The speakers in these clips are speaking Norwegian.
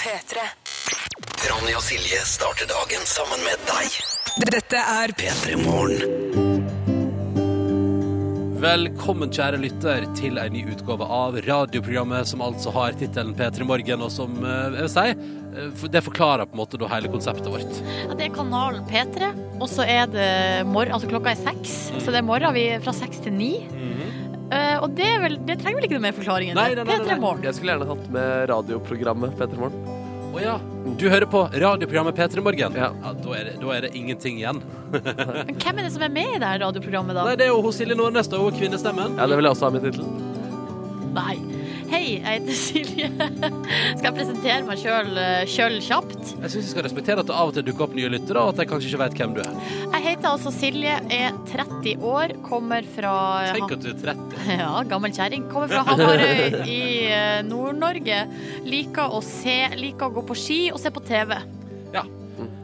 P3. Ronny og Silje starter dagen sammen med deg. Dette er P3 Morgen. Velkommen, kjære lytter, til en ny utgave av radioprogrammet som altså har tittelen P3 Morgen, og som eh, jeg vil si eh, for- Det forklarer på en måte da hele konseptet vårt. Ja, det er kanalen P3, og så er det morgen, altså klokka er seks, Mm. så det er morgen vi er fra seks til ni. Eh, og det, er vel, det trenger vel ikke noe mer forklaring enn Mm-hmm. Nei, det. nei, nei, nei, P3 nei. Morgen. Jeg skulle gjerne hatt med radioprogrammet Petter Morgen. Å ja, du hører på radioprogrammet P3 Morgen? Ja. da, er det, da er det ingenting igjen. Men hvem er det som er med i det her radioprogrammet, da? Nei, det er jo hun Silje Nordnes, da. Hun er kvinnestemmen. Ja, det vil jeg også ha med i tittelen. Nei. Hei, jeg heter Silje. Skal jeg presentere meg sjøl sjøl kjapt? Jeg syns vi skal respektere at det av og til dukker opp nye lyttere, og at jeg kanskje ikke vet hvem du er. Jeg heter altså Silje, er 30 år, kommer fra Tenk at du er 30. Ja, gammel kjerring. Kommer fra Hamarøy i eh, Nord-Norge. Liker å se, liker å gå på ski og se på TV. Ja.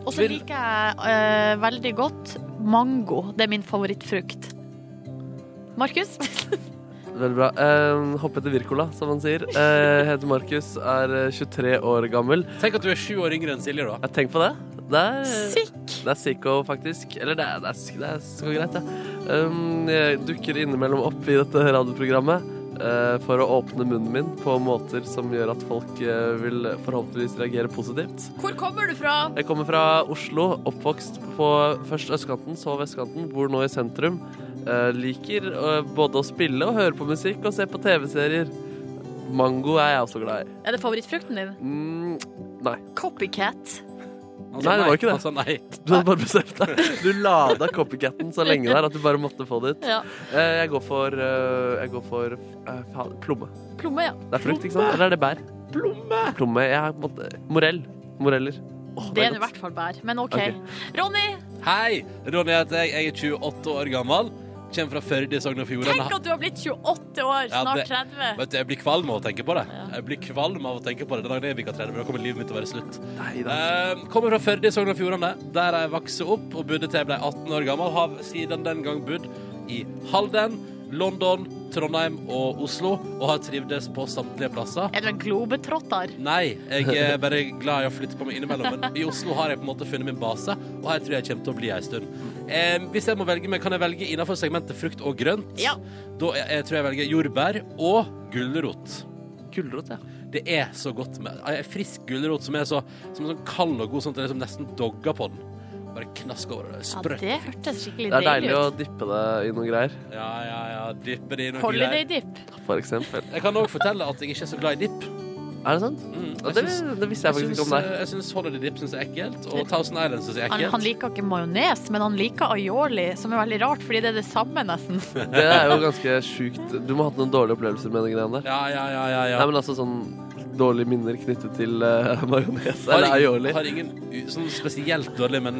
Og så Vil- liker jeg eh, veldig godt mango. Det er min favorittfrukt. Markus? Veldig bra. Eh, hoppe til Wirkola, som han sier. Eh, heter Markus, er eh, 23 år gammel. Tenk at du er sju år yngre enn Silje, da. Ja, tenk på det. Det er, Sikk! det er psycho, faktisk. Eller det er, det er, det er så greit, Ja. Um, jeg dukker innimellom opp i dette radioprogrammet eh, for å åpne munnen min på måter som gjør at folk eh, vil forhåpentligvis reagere positivt. Hvor kommer du fra? Jeg kommer fra Oslo, oppvokst på først østkanten, så vestkanten, bor nå i sentrum. Eh, liker eh, både å spille og høre på musikk og se på TV-serier. Mango er jeg også glad i. Er det favorittfrukten din? Mm, nei. Copycat. Han sa Nei, det var ikke det. Han sa Altså, nei. Du hadde bare bestemt deg. Du lada copycaten så lenge der at du bare måtte få det ut. Ja. Eh, jeg går for, eh, jeg går for eh, faen, plomme. Plomme, ja. Det er frukt, ikke sant? Eller er det bær? Plomme. Plomme, jeg måtte, Morell. Moreller. Åh, Det er godt. i hvert fall bær. Men OK. Ok. Ronny, Hei! Ronny heter jeg. Jeg er 28 år gammel. Kommer fra Førde i Sogn og Fjordane. tenk at du har blitt 28 år, Ja, snart det- 30. Vet du, Jeg blir kvalm av å tenke på det. Ja. Jeg blir kvalm av å tenke på det Den dagen jeg bikker 30, da kommer livet mitt til å være slutt. Nei, det er- Eh, kommer fra Førde i Sogn og Fjordane, der jeg vokste opp og bodde til jeg ble 18 år gammel. Har siden den gang bodd i Halden, London, Trondheim og Oslo, og har trivdes på samtlige plasser. Er du en globetrotter? Nei, jeg er bare glad i å flytte på meg innimellom, men i Oslo har jeg på en måte funnet min base, og her tror jeg jeg kommer til å bli ei stund. Eh, hvis jeg må velge meg, kan jeg velge innenfor segmentet frukt og grønt. Ja. Da jeg, jeg tror jeg velger jordbær og gulrot. Gulrot, ja. Det er så godt med en frisk gulrot som er så som er sånn kald og god, sånn at det liksom nesten dogger på den. Bare knask over det. Ja, Sprøtt. det hørtes skikkelig Det er deilig deilig å ut. dyppe det i noen greier, Ja, ja, ja. Dyppe det i noe Holiday greier. dip. for eksempel. Jeg kan òg fortelle at jeg ikke er så glad i dipp. Er det sant? Mm. Ja, Jeg det, syns- det visste jeg jeg faktisk syns, ikke om deg. eh, jeg syns Holiday Dip syns jeg er ekkelt, og Thousand Island syns jeg er Han, ekkelt. han liker ikke majones, men han liker aioli, som er veldig rart, fordi det er det samme, nesten. Det er jo ganske sjukt. Du må ha hatt noen dårlige opplevelser med den greia der. Ja, ja, ja, ja, ja. Nei, men altså sånn dårlige minner knyttet til uh, majones har, eller ingen, aioli. har ingen u- sånn spesielt dårlig, men,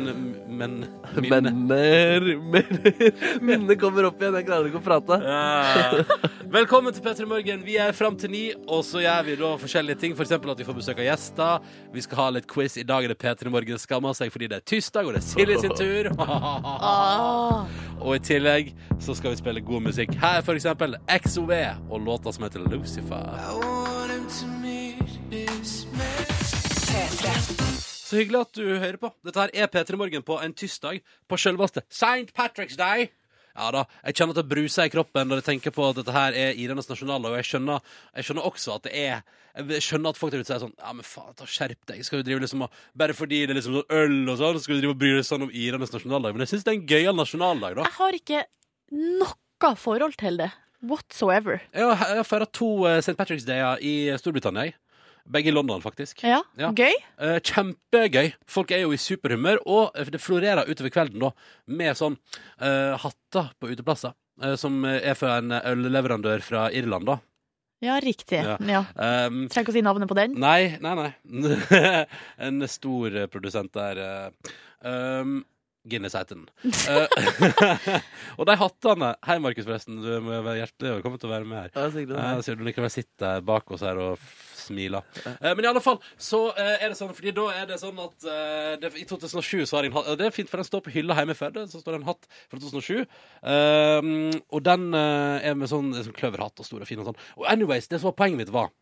men minne. Minner, minner Minner kommer opp igjen. Jeg klarer ikke å prate. Ja. Eh, Velkommen til Petter Morgen. Vi er fram til ni, og så gjør vi da forskjellige ting. F.eks. eksempel at vi får besøk av gjester. Vi skal ha litt quiz. I dag er det Petter Morgen skammer seg fordi det er tirsdag, og det er Silje sin tur. Ah, og i tillegg så skal vi spille god musikk. Her er f.eks. XOV og låta som heter Lucifer. Så hyggelig at du hører på. Dette her er P3 Morgen på en tirsdag på selveste St. Patrick's Day. Ja da, jeg kjenner at det bruser i kroppen når jeg tenker på at dette her er irenes nasjonaldag, og jeg skjønner, jeg skjønner også at det er Jeg skjønner at folk der ute sier sånn Ja, men faen, ta skjerp deg. Skal du drive liksom og Bare fordi det er liksom sånn øl og sånn, så skal du drive og bry deg sånn om irenes nasjonaldag. Men jeg syns det er en gøyal nasjonaldag, da. jeg har ikke noe forhold til det. Whatsoever. Jeg har, jeg har feira to eh, St. Patrick's Dayer i Storbritannia, jeg. Begge i London, faktisk. Ja, Ja. Gøy? Eh, kjempegøy. Folk er jo i superhumør, og det florerer utover kvelden da med sånn eh, hatter på uteplasser. eh, som er fra en ølleverandør fra Irland, da. Ja, riktig. Ja. Ja. Um, Trenger ikke å si navnet på den. nei, nei, nei. en stor eh, produsent der. eh, um, Guinness heter den. Eh, og de hattene Hei, Markus, forresten. Du må være hjertelig velkommen til å være med her. Ja, sikkert Ja, det. så du likevel sitter bak oss her og f- smiler. Eh, Men i alle fall, så eh, er det sånn, fordi da er det sånn at eh, det, i 2007 så har jeg en hatt, og det er fint for den står på hylla hjemme i Førde, så står det en hatt fra 2007, Eh, og den eh, er med sånn, sånn kløverhatt og stor og fin og sånn. Og anyways, det som var poenget mitt var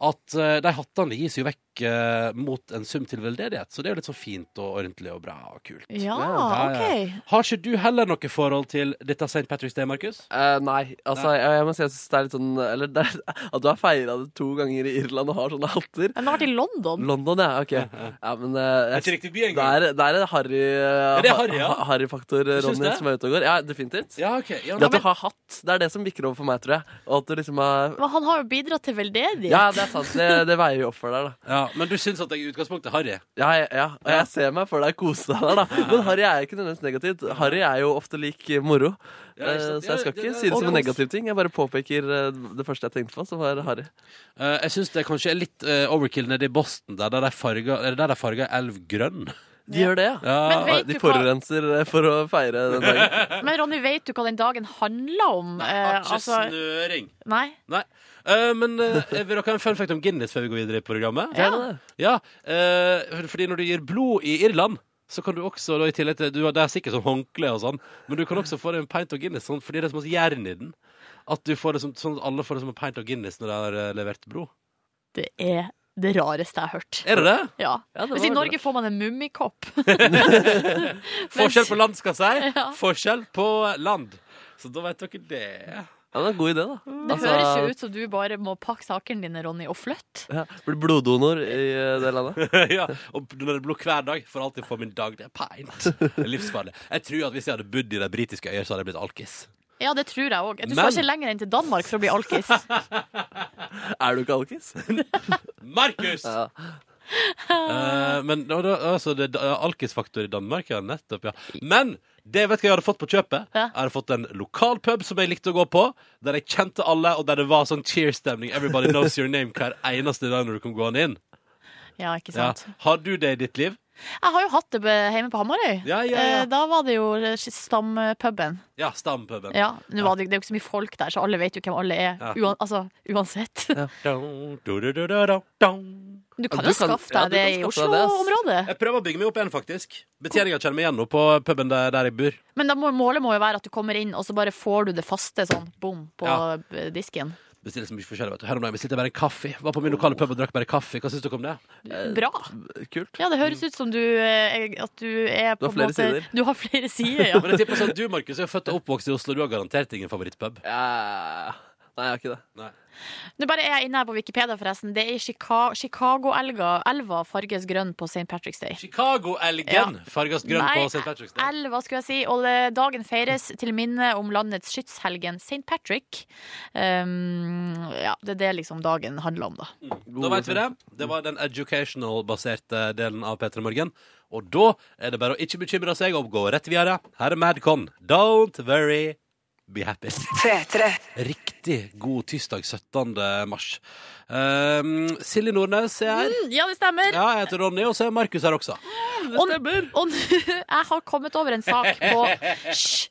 at eh, de hattene gis jo vekk eh, mot en sum til veldedighet, så det er jo litt sånn fint og ordentlig og bra og kult. Ja, Ja, ja, OK. Har ikke du heller noe forhold til dette St. Patrick's Day, Markus? Eh, nei, altså Jeg, jeg må si jeg synes det er litt sånn Eller det er, at du har feira det to ganger i Irland og har sånne hatter. Den har vært i London. London, ja. Ok. Ja, men eh, jeg, riktig by det er, det er en harry Er det harry, ja? ha- harryfaktor, syns Ronny, det? som er ute og går. Ja, definitivt. Ja, ok. Ja, Det men, at du har hatt, det er det som bikker over for meg, tror jeg. Og at du liksom har Men han har jo bidratt til veldedighet. Ja, det er sant. Det, det veier jo opp for deg, da. ja, men du syns at jeg i utgangspunktet er harry? Ja, ja, ja. Og jeg ser meg for deg kose deg der, da. Men harry er jo ikke nødvendigvis negativt. Harry er jo ofte lik moro. Ja, Eh, ikke sant? Så jeg skal Ja, ikke det- si det som en det- negativ ting. Jeg bare påpeker eh, det første jeg tenkte på, som var harry. Eh, jeg syns det kanskje er litt eh, overkill nede i Boston, der, der de farger, eller der de farger elv grønn. De gjør det, ja. Ja, Men vet De du hva, forurenser eh, for å feire den dagen. men Ronny, vet du hva den dagen handla om? Eh, Har ikke altså, snøring. nei. Nei. Eh, men eh, vil dere ha en fun fact om Guinness før vi går videre i programmet? Det er det. Ja, eh, fordi når du gir blod i Irland så kan du også, da, i tillegg til, du, Det er sikkert sånn håndkle og sånn, men du kan også få deg en pint av Guinness sånn, fordi det er så mye jern i den. At du får det som, sånn at alle får det som en pint av Guinness når de har eh, levert blod. Det er det rareste jeg har hørt. Er det det? Ja. Ja, det Hvis i var Norge får man en mummikopp. Forskjell på land, skal jeg si. Ja. Forskjell på land. Så da vet dere det. Ja, men det er en god idé, da. Det høres jo ut som du bare må pakke sakene dine, Ronny, og flytte. Ja, blir bloddonor i eh, det landet. ja, og når det blod hver dag, for alltid få min dag. Det er pint. Det er livsfarlig. Jeg tror at hvis jeg hadde bodd i de britiske øyer, så hadde jeg blitt alkis. Ja, det tror jeg òg. Du Men- skal ikke lenger enn til Danmark for å bli alkis. Er du ikke alkis? Markus! Ja. Eh, men da, da, altså, det er alkisfaktor i Danmark, ja. Nettopp, ja. Men det vet du hva jeg hadde fått på kjøpet. Ja. Jeg hadde fått en lokal pub som jeg likte å gå på, der jeg kjente alle, og der det var sånn cheer-stemning. Everybody knows your name hver eneste dag når du kom gående inn. Ja, ikke Ja. sant. Har du det i ditt liv? Jeg har jo hatt det be- hjemme på Hamarøy. Ja, ja, ja. Eh, Da var det jo eh, stampuben. Ja, stampuben. Ja, nå var det, det er jo ikke så mye folk der, så alle vet jo hvem alle er. Ja. Uan, altså, uansett. Dong, do, do, do, do, do, dong. Du kan du jo kan- skaffe ja, deg du kan skaffe deg det i det, ass. Oslo-området. Jeg prøver å bygge meg opp igjen, faktisk. Betjeninga kjenner meg igjen nå på puben der, der jeg bor. Men da må, målet må jo være at du kommer inn, og så bare får du det faste sånn, bom, på Ja. eh, disken. Bestiller så mye forskjellig, vet du. Her om dagen bestilte jeg bare en kaffe. Var på min lokale pub og drakk bare kaffe. Hva syns dere om det? Eh, Bra. Kult. Ja, det høres ut som du, eh, at du er mm. Du på har flere en måte, sider. Du har flere sider, ja. Men jeg tipper sånn, Du Markus, er jo født og oppvokst i Oslo. Du har garantert ingen favorittpub. Ja. Nei, jeg har ikke det. Nå bare er jeg inne her på Wikipedia, forresten. Det er i Chica- Chicago-elva elva farges grønn på St. Patrick's Day. Chicago-elgen farges grønn Nei, på St. Patrick's Day. elva skulle jeg si. Og det, dagen feires til minne om landets skytshelgen St. Patrick. Um, ja, det er det liksom dagen handler om, da. Da vet vi det. Det var den educational-baserte delen av P3 Morgen. Og da er det bare å ikke bekymre seg og gå rett videre. Her er Madcon. Don't worry, be happy. P3. Riktig god tirsdag 17. mars. Ehm, Silje Nordnes er her. Mm, Ja, det stemmer. Ja, jeg heter Ronny, og så er Markus her også. og, og nå- jeg har kommet over en sak på Hysj!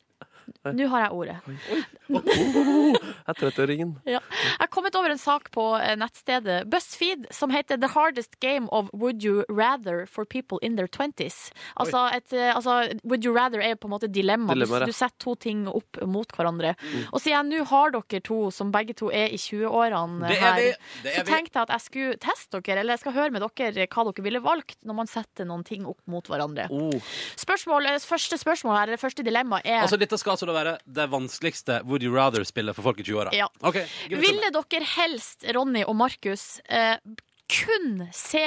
Nå har jeg ordet. Jeg er 30-åringen. Ja. Jeg har kommet over en sak på eh, nettstedet BuzzFeed som heter The Hardest Game of Would You Rather for People in Their 20s. Altså, et, eh, altså Would You Rather er på en måte dilemma. Dilemmaer, ja. du, du setter to ting opp mot hverandre. Mm. Og siden jeg nå har dere to som begge to er i 20-årene Det er her, vi. Det så er vi. tenkte jeg at jeg skulle teste dere, eller jeg skal høre med dere hva dere ville valgt når man setter noen ting opp mot hverandre. Oh. Spørsmål, eh, første spørsmål her, eller første dilemma er Altså, dette skal altså da være det vanskeligste Would you rather-spillet for folk i 20-åra. Ja. Ok, give it to me. Ville dere helst, Ronny og Markus, eh, kun se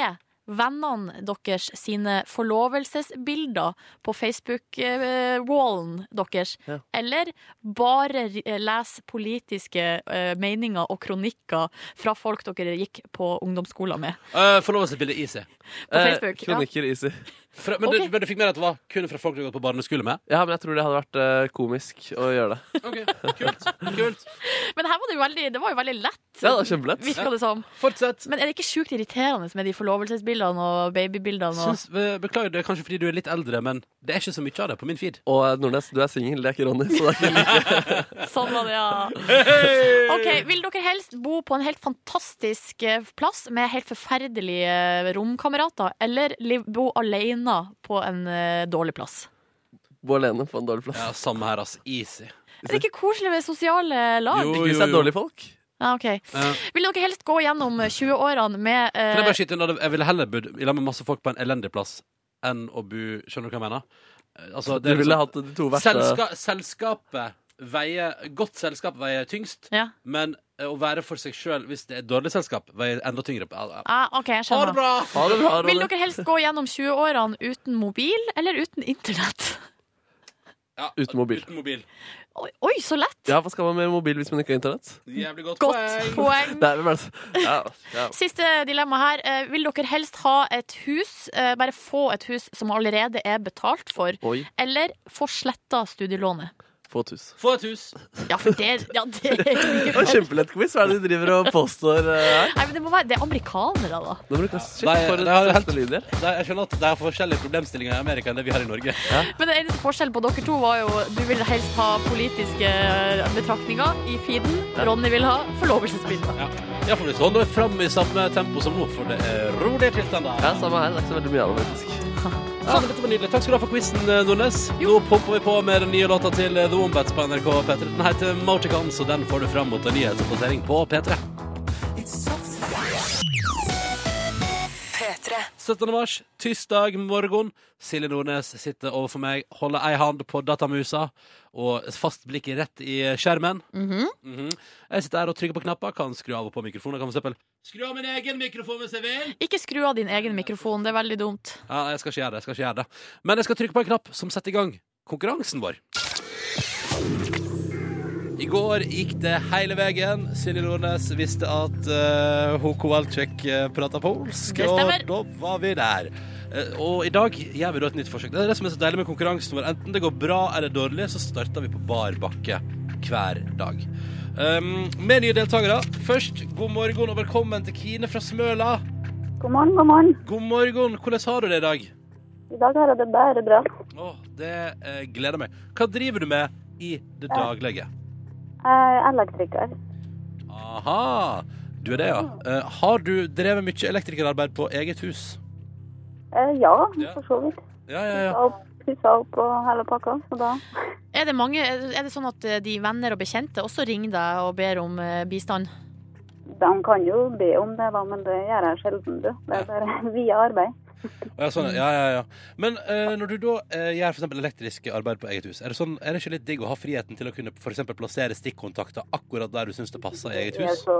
vennene deres sine forlovelsesbilder på Facebook-wallen deres, Ja. eller bare eh, lese politiske eh, meninger og kronikker fra folk dere gikk på ungdomsskolen med? Eh, Forlovelsesbildet i seg. På Facebook, ja. kronikker, Eh, easy. Fra- Men, Ok. du, men du fikk med deg at det var kun fra folk du har gått på barneskole med? Ja, men jeg tror det hadde vært eh, komisk å gjøre det. Ok, kult, kult Men her var det, jo veldig, det var jo veldig lett, Ja, det var kjempelett. virka det som. Fortsett. Men er det ikke sjukt irriterende med de forlovelsesbildene og babybildene? Og... Syns, eh, beklager, det er kanskje fordi du er litt eldre, men det er ikke så mye av det på min feed. Og eh, Nordnes, du er singel, det er ikke Ronny. Så det er ikke like. Sånn var det, ja. Ok, Vil dere helst bo på en helt fantastisk eh, plass med helt forferdelige eh, romkamerater, eller liv- bo alene på en eh, dårlig plass? Bo alene på en dårlig plass. Ja, Samme her, ass. Easy. Er det ikke koselig med sosiale lag? Jo, Ikke hvis det er dårlige folk. Ja, ok. Eh, Vil dere helst gå gjennom 20-årene med eh, Kan jeg bare skyte inn at jeg ville heller bodd i lag med masse folk på en elendig plass enn å bo Skjønner du hva jeg mener? Eh, Altså, Du det er ville liksom, hatt eh, de to verste selska, selskapet veier Godt selskap veier tyngst, Ja. men eh, å være for seg sjøl hvis det er dårlig selskap, veier enda tyngre. på- Ja, ja. Ah, OK, jeg Ha det skjønner. bra! Ha det bra, Vil Ronny. dere helst gå gjennom 20-årene uten mobil eller uten internett? Ja, Uten mobil. Uten mobil. Oi, oi, så lett! Ja, hva skal man med mobil hvis man ikke har internett? Jævlig godt, Godt poeng. poeng. Det er vel bare ja, ja. Siste dilemma her. Eh, Vil dere helst ha et hus, eh, bare få et hus som allerede er betalt for, Oi, eller få sletta studielånet? få et hus. Få et hus. Ja, for det, ja, det er Det var en ikke kjempelett quiz. Hva er det de driver og påstår eh, her? Nei, men det må være Det er amerikanere, da. Nå bruker jeg shit Nei, for det har jeg et helt- siste lydhjelp. Det, jeg skjønner at det er forskjellige problemstillinger i Amerika enn det vi har i Norge. Men den eneste forskjellen på dere to var jo du vil helst ha politiske eh, betraktninger i feeden. Ronny vil ha forlovelsesbilder. Ja. Ja, for hvis du holder fram i samme tempo som nå, for det er rolige tilstander. Ja, samme her. Det er ikke så veldig mye av det, faktisk. Ja, men dette var nydelig. Takk skal du ha for quizen, eh, Nordnes. Nå popper vi på med den nye låta til eh, The Wombats på NRK P3. Den heter Moticons, og den får du fram mot en nyhetsoppdatering på P3. P3. 17. mars, tirsdag morgen. Silje Nordnes sitter overfor meg, holder ei hand på datamusa og et fast blikk rett i eh, skjermen. Mhm. Jeg sitter her og trykker på knapper, kan skru av og på mikrofonen. Kan for eksempel skru av min egen mikrofon hvis jeg vil. Ikke skru av din egen mikrofon, det er veldig dumt. Ja, jeg skal ikke gjøre det, jeg skal ikke gjøre det. Men jeg skal trykke på en knapp som setter i gang konkurransen vår. I går gikk det hele veien. Silje Nordnes visste at eh, hun Kowalczyk uh, prata polsk, Det og stemmer. da var vi der. Eh, og i dag gjør vi da et nytt forsøk. Det er det som er så deilig med konkurransen vår. Enten det går bra eller dårlig, så starter vi på bar bakke hver dag. Um, med nye deltakere. Først, god morgen og velkommen til Kine fra Smøla. God morgen, god morgen. God morgen. Hvordan har du det i dag? I dag er det bare bra. Åh, det eh, gleder meg. Hva driver du med i det daglige? Jeg er elektriker. Aha, du er det, ja. Eh, har du drevet mye elektrikerarbeid på eget hus? Eh, Ja, Ja. for så vidt. Ja, ja, ja. Og pussa opp og hele pakka. Så da Er det, mange, er det sånn at de venner og bekjente også ringer deg og ber om eh, bistand? De kan jo be om det, da, men det gjør jeg sjelden, du. Det er bare via arbeid. Å, ja, sånn, ja, ja, ja. Men eh, når du da eh, gjør for eksempel elektriske arbeid på eget hus, er det, sånn, er det ikke litt digg å ha friheten til å kunne for eksempel plassere stikkontakter akkurat der du syns det passer i eget Vi er hus? så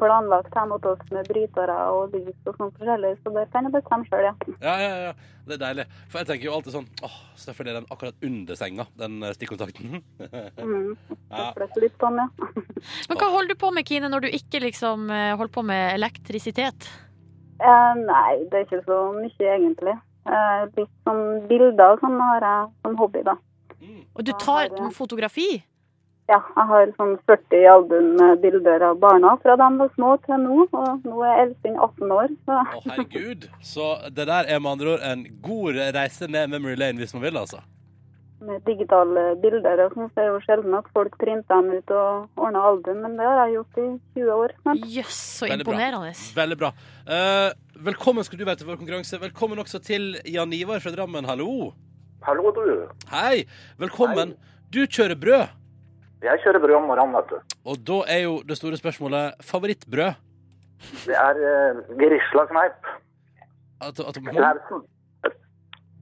planlagt hjemme hos oss med brytere og lys og sånn forskjellig, så det kan jeg bestemme sjøl, ja. Ja, ja, ja. Det er deilig. For jeg tenker jo alltid sånn åh, selvfølgelig er den akkurat under senga, den eh, stikkontakten. Mm. ja. Flytte litt på den, ja. Men hva holder du på med, Kine, når du ikke liksom eh, holder på med elektrisitet? Eh, Nei, det er ikke så mye, egentlig. Eh, Litt sånn bilder og sånn har jeg som hobby, da. Og du tar fotografi? Ja, jeg har sånn 40 album med bilder av barna fra de var små til nå. Og nå er Elfin 18 år, så Å, herregud. Så det der er med andre ord en god reise ned memory lane hvis man vil, altså. med digitale bilder og sånn, så er det jo sjelden at folk printer dem ut og ordner album. Men det har jeg gjort i 20 år. Men Jøss, så Veldig bra. imponerende. Veldig bra. Eh, velkommen skal du være til vår konkurranse. Velkommen også til Jan Ivar fra Drammen. Hallo. Hallo, du. Hei. Velkommen. Du kjører brød, Jeg kjører brød om morgenen, vet du. og da er jo det store spørsmålet favorittbrød. Det er uh, Gerisla Kneip. At, at, å Klausen.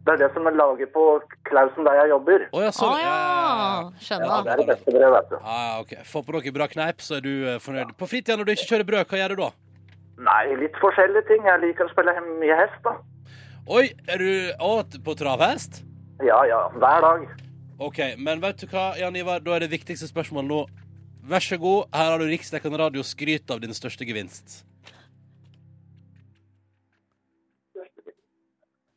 Det er det som er laget på Klausen der jeg jobber. ja, Å sånn. Ah, ja, Ja, skjønner. det er det beste brødet, vet du. Ja, ja, ok. Få på noe bra kneip, så er du eh, fornøyd. På fritida når du ikke kjører brød, hva gjør du da? Nei, litt forskjellige ting. Jeg liker å spille he- mye hest, da. Oi, er du å, på travhest? Ja, ja. Hver dag. OK, men vet du hva, Jan Ivar, da er det viktigste spørsmålet nå. Vær så god, her har du riksdekkende radio. Skryt av din største gevinst.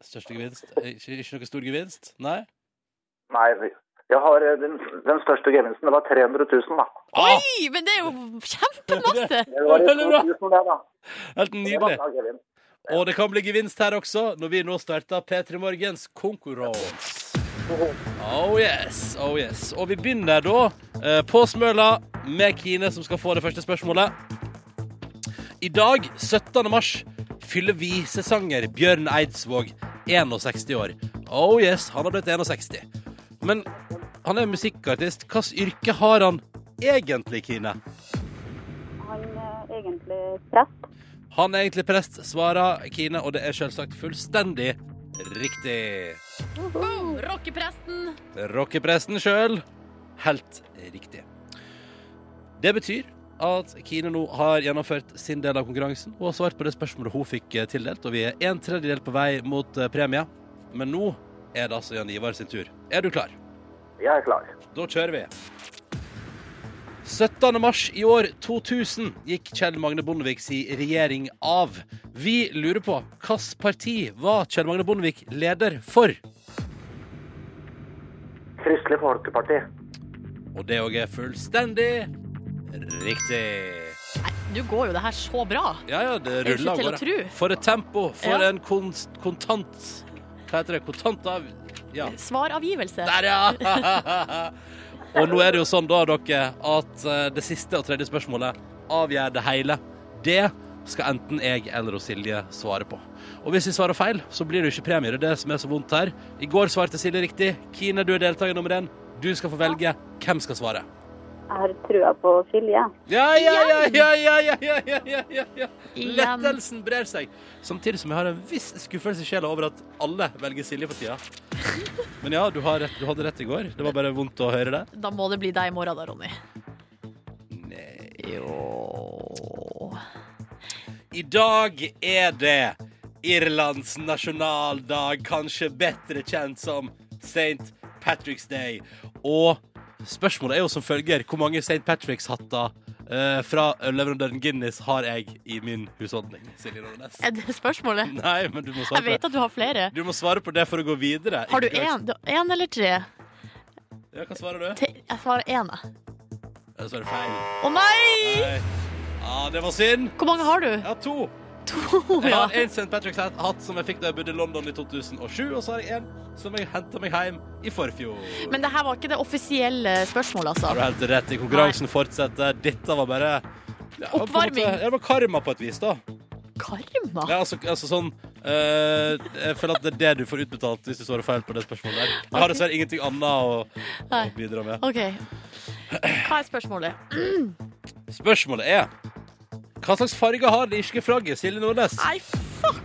Største gevinst? Ikke, ikke noe stor gevinst? Nei? Nei, jeg har eh, den, den største gevinsten. Det var 300 000, da. Ah, Oi, men det er jo kjempemasse! Det var i Veldig bra. 2000, det, da. helt Det var nydelig. da gevinst. Og det kan bli gevinst her også, når vi nå starter P3 Morgens konkurranse. Oh yes, oh yes. Og vi begynner da eh, på Smøla med Kine, som skal få det første spørsmålet. I dag, 17. mars, fyller visesanger Bjørn Eidsvåg 61 år. Oh yes, han har blitt 61. Men han er musikkartist. Hvilket yrke har han egentlig, Kine? han egentlig prest. Han er egentlig prest, svarer Kine, og det er selvsagt fullstendig riktig. Boom! Rockepresten! Rockepresten sjøl. Helt riktig. Det betyr at Kine nå har gjennomført sin del av konkurransen. Hun har svart på det spørsmålet hun fikk eh, tildelt, og vi er en tredjedel på vei mot eh, premie. Men nå er det altså Jan Ivar sin tur. Er du klar? Jeg er klar. Da kjører vi. 17. mars i år 2000 gikk Kjell Magne Bondevik si regjering av. Vi lurer på hvilket parti var Kjell Magne Bondevik leder for? Kristelig Folkeparti. Og det òg er fullstendig riktig. Nå går jo det her så bra. Ja, ja, det Det er ruller av ikke til å gårde. tro. For et tempo, for Ja. en konst, kontant Hva heter det? Kontant av Ja. Svaravgivelse. Der, ja! og nå er det jo sånn, da, dere, at eh, det siste og tredje spørsmålet avgjør det hele. Det skal enten jeg eller Silje svare på. Og hvis vi svarer feil, så blir det jo ikke premie. Det er det som er så vondt her. I går svarte Silje riktig. Kine, du er deltaker nummer én. Du skal få velge hvem skal svare. Jeg har trua på Silje. Ja, ja, ja, ja, ja, ja, ja, ja, ja, ja, ja. Igjen. Lettelsen brer seg. Samtidig som jeg har en viss skuffelse i sjela over at alle velger Silje for tida. Men ja, du, har rett, du hadde rett i går. Det var bare vondt å høre det. Da må det bli deg i morgen da, Ronny. Nei. Jo I dag er det Irlands nasjonaldag, kanskje bedre kjent som St. Patrick's Day. Og spørsmålet er jo som følger Hvor mange St. Patricks-hatter eh, fra leverandøren Guinness har jeg i min husholdning? Silje Nordnes. Er det spørsmålet? Nei, men du må Jeg svare på vet det. at du har flere. Du må svare på det for å gå videre. Har du Ikke Clarkson. én? Én eller tre? Ja, hva svarer du? Te- Jeg svarer én, jeg. Jeg svarer feil. Å nei! Nei. Ja, det var synd. Hvor mange har du? Jeg har to. To, Jeg ja. har en St. Patrick's hat- hatt som jeg fikk da jeg bodde i London i 2007, og så har jeg en som jeg henta meg hjem i forfjor. Men det her var ikke det offisielle spørsmålet, Har du altså. helt rett i konkurransen fortsetter. Dette var bare ja, på en Oppvarming. måte- Ja, det var karma på et vis, da. Karma? Ja, altså, altså sånn eh, Jeg føler at det er det du får utbetalt hvis du svarer feil på det spørsmålet der. Jeg har dessverre ingenting annet å, å Nei. bidra med. OK. Hva er spørsmålet? Spørsmålet er Hva slags farge har det irske flagget, Silje Nordnes? Nei, fuck!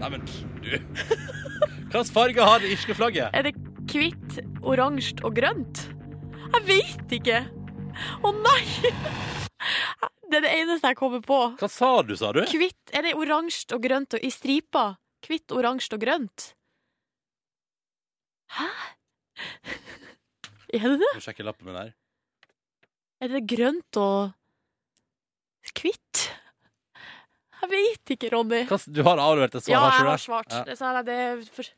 Nei, men du Hva slags farge har det irske flagget? Er det hvitt, oransje og grønt? Jeg vet ikke. Å nei! Det er det eneste jeg kommer på. Hva sa du, sa du? Hvitt Er det oransje og grønt og i stripa? Hvitt, oransje og grønt? Hæ? Er det det? Må sjekke lappen min her. Er det grønt og hvitt? Jeg vet ikke, Ronny. Hva, s- du har avlevert et svar, Ja, har ikke jeg du har det? svart. Ja. Det sa jeg, det er for...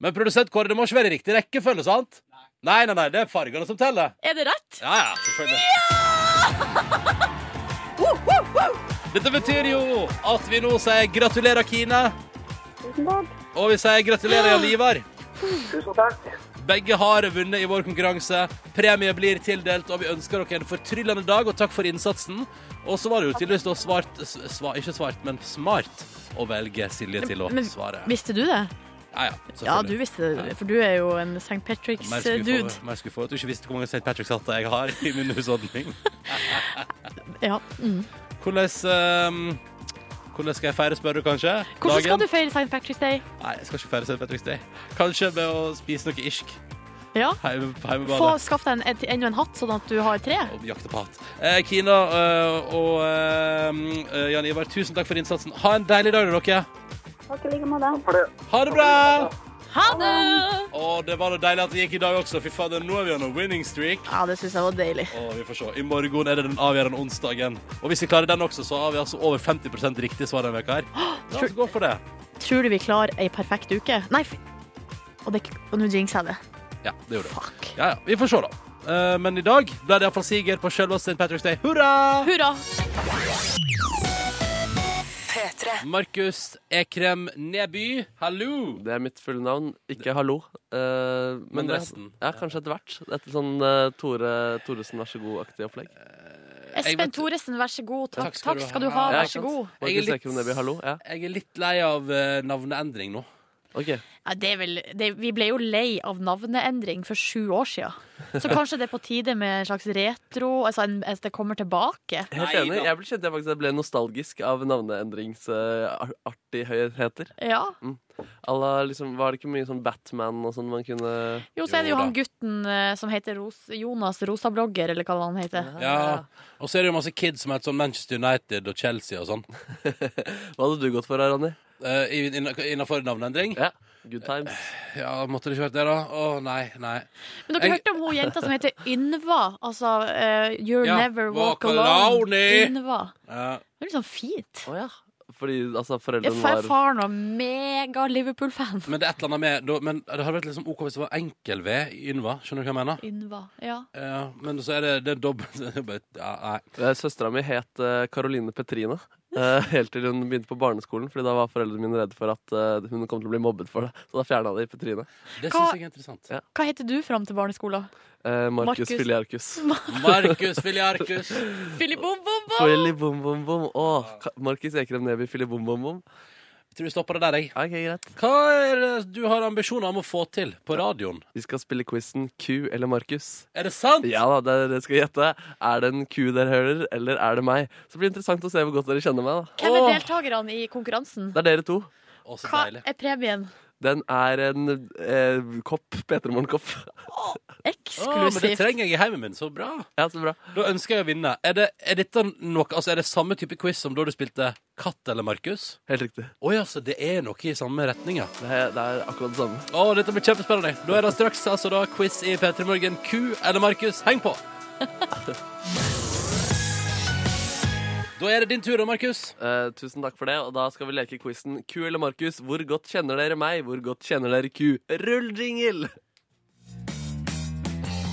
Men produsent Kåre, det må ikke være i riktig rekkefølge, sant? Nei, nei, nei, det er fargene som teller. Er det rett? Ja, ja, selvfølgelig. Dette betyr jo at vi nå sier gratulerer, Kine. Tusen takk. Og vi sier gratulerer, Jan Ivar. Tusen takk. Begge har vunnet i vår konkurranse. Premie blir tildelt, og vi ønsker dere en fortryllende dag, og takk for innsatsen. Og så var det jo tydeligvis da svart s- sva, Ikke svart, men smart å velge Silje til å Men- svare. Visste du det? Ja, ja, Ja, du selvfølgelig. visste det, for du er jo en St. Mer skuffa Patricks-dude. over- mer skuffa over at du ikke visste hvor mange St. Patrick's-hatter jeg har i min husholdning. Ja. Mm. Hvordan ehm, hvordan skal jeg feire, spør du kanskje? Hvordan skal du feire St. Patrick's Day? Nei, jeg skal ikke feire St. Patrick's Day. Kanskje ved å spise noe irsk. Ja. Heime, Få heimebane. skaff deg en- et- enda en hatt, sånn at du har tre. og jakte på hatt. Eh, Kina eh, og eh, Jan Ivar, tusen takk for innsatsen. Ha en deilig dag, dere. Takk i like måte. For det. Ha det bra! Ha det! Å, det var noe deilig at det gikk i dag også. Fy fader, nå er vi on a winning streak. Ja, det syns jeg var deilig. Og vi får se. I morgen er det den avgjørende onsdagen. Og hvis vi klarer den også, så har vi altså over 50 riktig svar denne veka her. La oss gå for det. Tror du vi klarer ei perfekt uke? Nei, f- og, det, og nå jinxer jeg det. Ja, det gjorde vi. Fuck. Ja, ja. Vi får se, da. Eh, men i dag ble det iallfall siger på sjølve St. Patrick's Day. Hurra! Hurra! P3. Markus Ekrem Neby, hallo! Det er mitt fulle navn. Ikke hallo. eh, Men det- resten. Ja, kanskje etter hvert. Etter sånn eh, Tore Thoresen, vær så god-aktig opplegg. Jeg Espen vet- Thoresen, vær så god. Takk, Takk skal takk du skal du ha. ha. Ja, Vær ikke så sant? god. Jeg er Markus litt- Ekerum Neby, hallo. Ja, Jeg er litt lei av eh, navneendring nå. ok. Ja, det er vel, det, vi ble jo lei av navneendring for sju år siden. Så kanskje det er på tide med en slags retro, altså en, at det kommer tilbake. Helt Nei enig. da. Jeg ble, kjent, jeg, faktisk, jeg ble nostalgisk av navneendringsartighøyheter. Ja. Alla, liksom, var det ikke mye sånn Batman og sånn man kunne Jo, så er det Jo jo han da. gutten eh, som heter Ros Jonas Rosablogger, eller hva han heter. Ja. Og så er det jo masse kids som heter sånn Manchester United og Chelsea og sånn. Hva hadde du gått for, Ronny? Uh, Innafor navneendring? Ja, Good times. Ja, måtte det ikke vært det, da? Å, nei, nei. Men dere Jeg- hørte om hun jenta som heter Ynva? Altså eh, You'll Ja, Never Walk, walk Alone. alone. Ynva. Ja. Det er litt sånn fint. Å ja. Fordi altså, Jeg foreldrene er var faren var mega Liverpool-fan. Men det er et eller annet med da, Men det hadde vært liksom OK hvis det var enkel V i Ynva. Skjønner du hva jeg mener? Ynva, ja. Ja, men så er det, det er dobbelt det er bare- ja, Nei. Søstera mi het eh, Caroline Petrina eh, helt til hun begynte på barneskolen. Fordi da var foreldrene mine redde for at eh, hun kom til å bli mobbet for det. Så da fjerna de Petrine. Det Hva- syns jeg er interessant. Ja. Hva heter du fram til barneskolen? Eh, Markus Markus. Filiarkus. Markus Filiarkus. Philip Bom Bom Bom! Filly bom bom bom. Åh, Ka- Markus Ekrem Neby, Filly bom bom bom. Tror vi stopper det der, jeg. Ok, greit. Hva er det du har ambisjoner om å få til på radioen? Vi skal spille quizen Q eller Markus. Er det sant? Ja da, dere dere skal gjette. Er det en Q dere hører, eller er det meg? Så det blir interessant å se hvor godt dere kjenner meg. da Hvem er Åh. deltakerne i konkurransen? Det er dere to. Å, så Hva deilig. er premien? Den er en eh, kopp. P3 Morgen-kopp. Å, men det Eksklusivt. trenger jeg i heimen min. Så bra. Ja, så bra. Da ønsker jeg å vinne. Er det, er dette noe, altså, er det samme type quiz som da du spilte Katt eller Markus? Helt riktig. Å ja, så det er noe i samme retning, ja. Det er, det er akkurat det samme. Å, dette blir kjempespennende. Da er det straks altså da quiz i P3 Morgen. Q eller Markus, heng på! Da er det din tur da, Markus. Eh, tusen takk for det, og da skal vi leke quizen Q eller Markus. Hvor godt kjenner dere meg? Hvor godt kjenner dere Q? Rull jingle!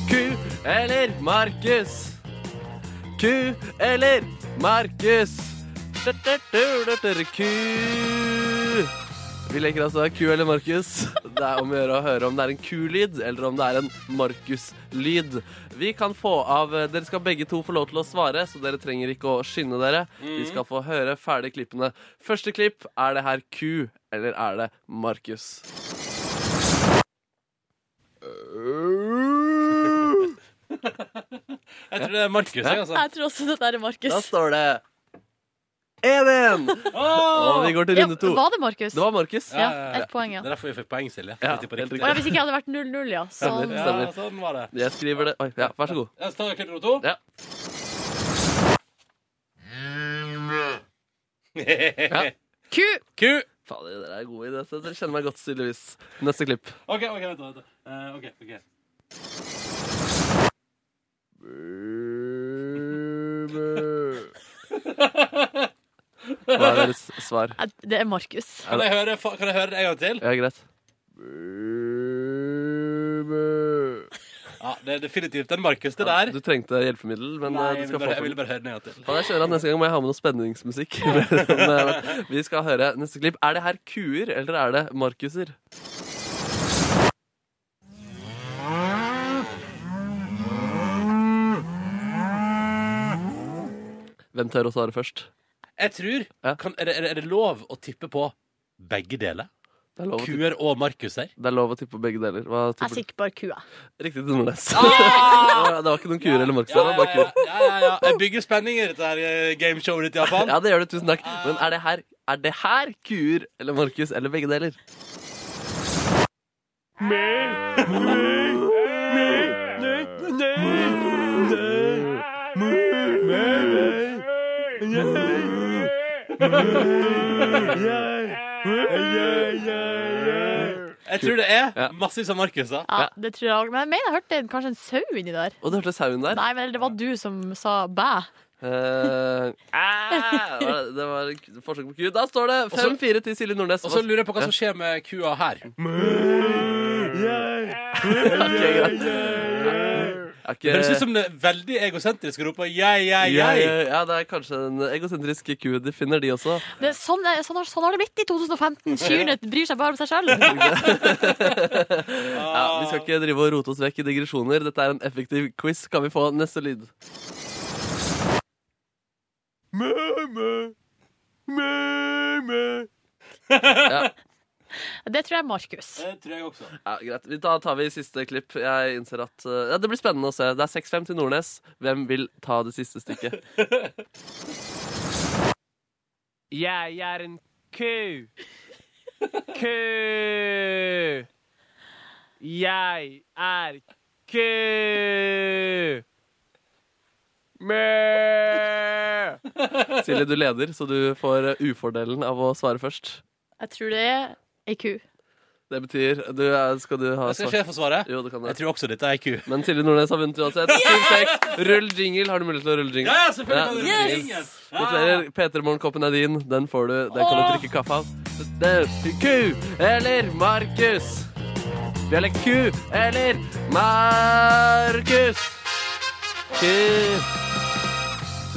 Q eller Markus? Q eller Markus? Du-du-du-du-du, Q Vi leker altså Q eller Markus. Det er om å gjøre å høre om det er en Q-lyd eller om det er en Markus-lyd. Vi kan få av eh, Dere skal begge to få lov til å svare, så dere trenger ikke å skynde dere. Vi skal få høre ferdig klippene. Første klipp, er det her Q eller er det Markus? Jeg tror det er Markus. jeg, altså. Jeg tror også det der er Da Markus. står det 1-1! Og vi går til Ja, runde to. var det Markus? Det var Markus. Ja, ett poeng, Det ja. er derfor vi fikk poeng, Silje. Ja, Vi tipper helt riktig. Å, ja, hvis ikke hadde det vært 0-0, ja. Sånn. Stemmer. Ja, sånn var det. Jeg skriver det Oi, ja, vær så god. Ja, så tar vi klipp nummer to. Ja. Q! Q. Fader, dere er gode i dette. Dere kjenner meg godt, tydeligvis. Neste klipp. OK, ok, vent, da, vent. da. Eh, ok, ok. Hva er deres svar? Nei, Det er Markus. Kan jeg høre, fa- kan jeg høre det en gang til? Ja, greit. Ja, Det er definitivt en Markus, det der. Du trengte hjelpemiddel, men Nei, eh, jeg du ville skal bare, få jeg den. ville bare høre den en gang til. Kan jeg kjøre at Neste gang må jeg ha med noe spenningsmusikk. Men, eh, Vi skal høre neste klipp. Er det her kuer, eller er det markuser? Hvem tør å svare først? Jeg tror Ja. kan, er, det, er det- er det lov å tippe på begge deler? Det er lov å tippe, Kuer Altså, og Markus her? det er lov å tippe begge deler. Hva Jeg tipper du? sikker bare Q, jeg. Riktig til Nordnes. Det var ikke noen kuer eller markuser. det var bare kuer. Ah! ja, ja, ja, ja. Jeg bygger spenning i dette her eh, gameshowet ditt, iallfall. Ja, det gjør det. Tusen takk. Men er det her, er det her kuer eller Markus eller begge deler? Jeg tror det er Ja. massevis av Markuser. Ja, det tror jeg også. Men jeg mener jeg hørte en- kanskje en sau inni der. Og du hørte sauen der. Nei, men det var du som sa bæ. Eh, æ, var det- det var et forsøk på ku. Da står det 5-4 til Silje Nordnes. Og så lurer jeg på hva som skjer med kua her. Eh. Ok, greit. Er ikke- Det høres ut som det er veldig egosentrisk å rope 'jeg, jeg, Ja, jeg'. ja, ja, det er kanskje en egosentrisk ku. De finner de også. Det, sånn, er- sånn, har- sånn har det blitt i 2015. Kyrne bryr seg bare om seg sjøl. Ja, vi skal ikke drive og rote oss vekk i digresjoner. Dette er en effektiv quiz. Kan vi få neste lyd? Ja, Det tror jeg er Markus. Det tror jeg også. Ja, greit. Vi tar, tar vi siste klipp. Jeg innser at eh, ja, Det blir spennende å se. Det er 6-5 til Nordnes. Hvem vil ta det siste stykket? Jeg er en ku. Ku. Jeg er ku. Mæ. Silje, du leder, så du får eh, ufordelen av å svare først. Jeg tror det er ei ku. Det betyr du, er- Skal du ha Jeg skal ikke jeg få svare? Jo, det kan du. Jeg tror også dette er ei ku. Men Silje Nordnes har vunnet uansett. 7-6. Rull jingle. Har du mulighet til å rulle jingle? Ja, selvfølgelig! Ja, kan du yes! ringe. Ja. Gratulerer. Peter Morgenkoppen er din. Den får du. Den kan du drikke kaffe av. Det er Ku eller Markus? Dialekt ku eller Markus? Ku.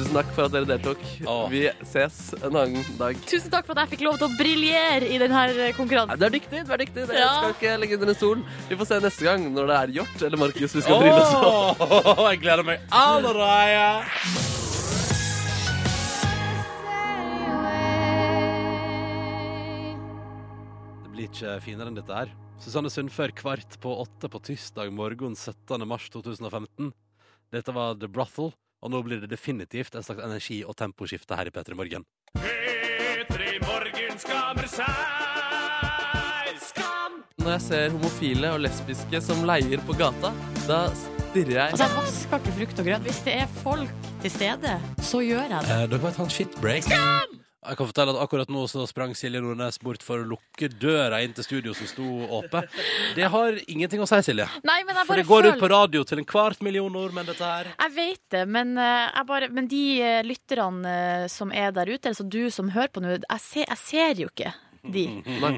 Tusen takk for at dere deltok. Åh. Vi ses en annen dag. Tusen takk for at jeg fikk lov til å briljere i denne Nei, konkurransen. Du er dyktig. du er dyktig Dere skal Ja. ikke legge under en stol. Vi får se neste gang når det er Hjort eller Markus vi skal Åh, drille oss på. jeg gleder meg allerede. Det blir ikke finere enn dette her. Susanne Sundfør kvart på åtte på tirsdag morgen 17. mars 2015. Dette var The Brothel, og nå blir det definitivt en slags energi- og temposkifte her i P3 Morgen. Når jeg ser homofile og lesbiske som leier på gata, da stirrer jeg Altså, jeg vasker ikke frukt og grønt. Hvis det er folk til stede, så gjør jeg det. Eh, dere må ta en shitbreak. Jeg kan fortelle at Akkurat nå så sprang Silje Nordnes bort for å lukke døra inn til studio som sto åpen. Det har ingenting å si, Silje. Nei, men jeg For bare det går ut på føler radio til en kvart million nordmenn, dette her. jeg vet det, men, eh, jeg bare, men de eh, lytterne eh, som er der ute, altså du som hører på nå, jeg ser, jeg ser jo ikke de.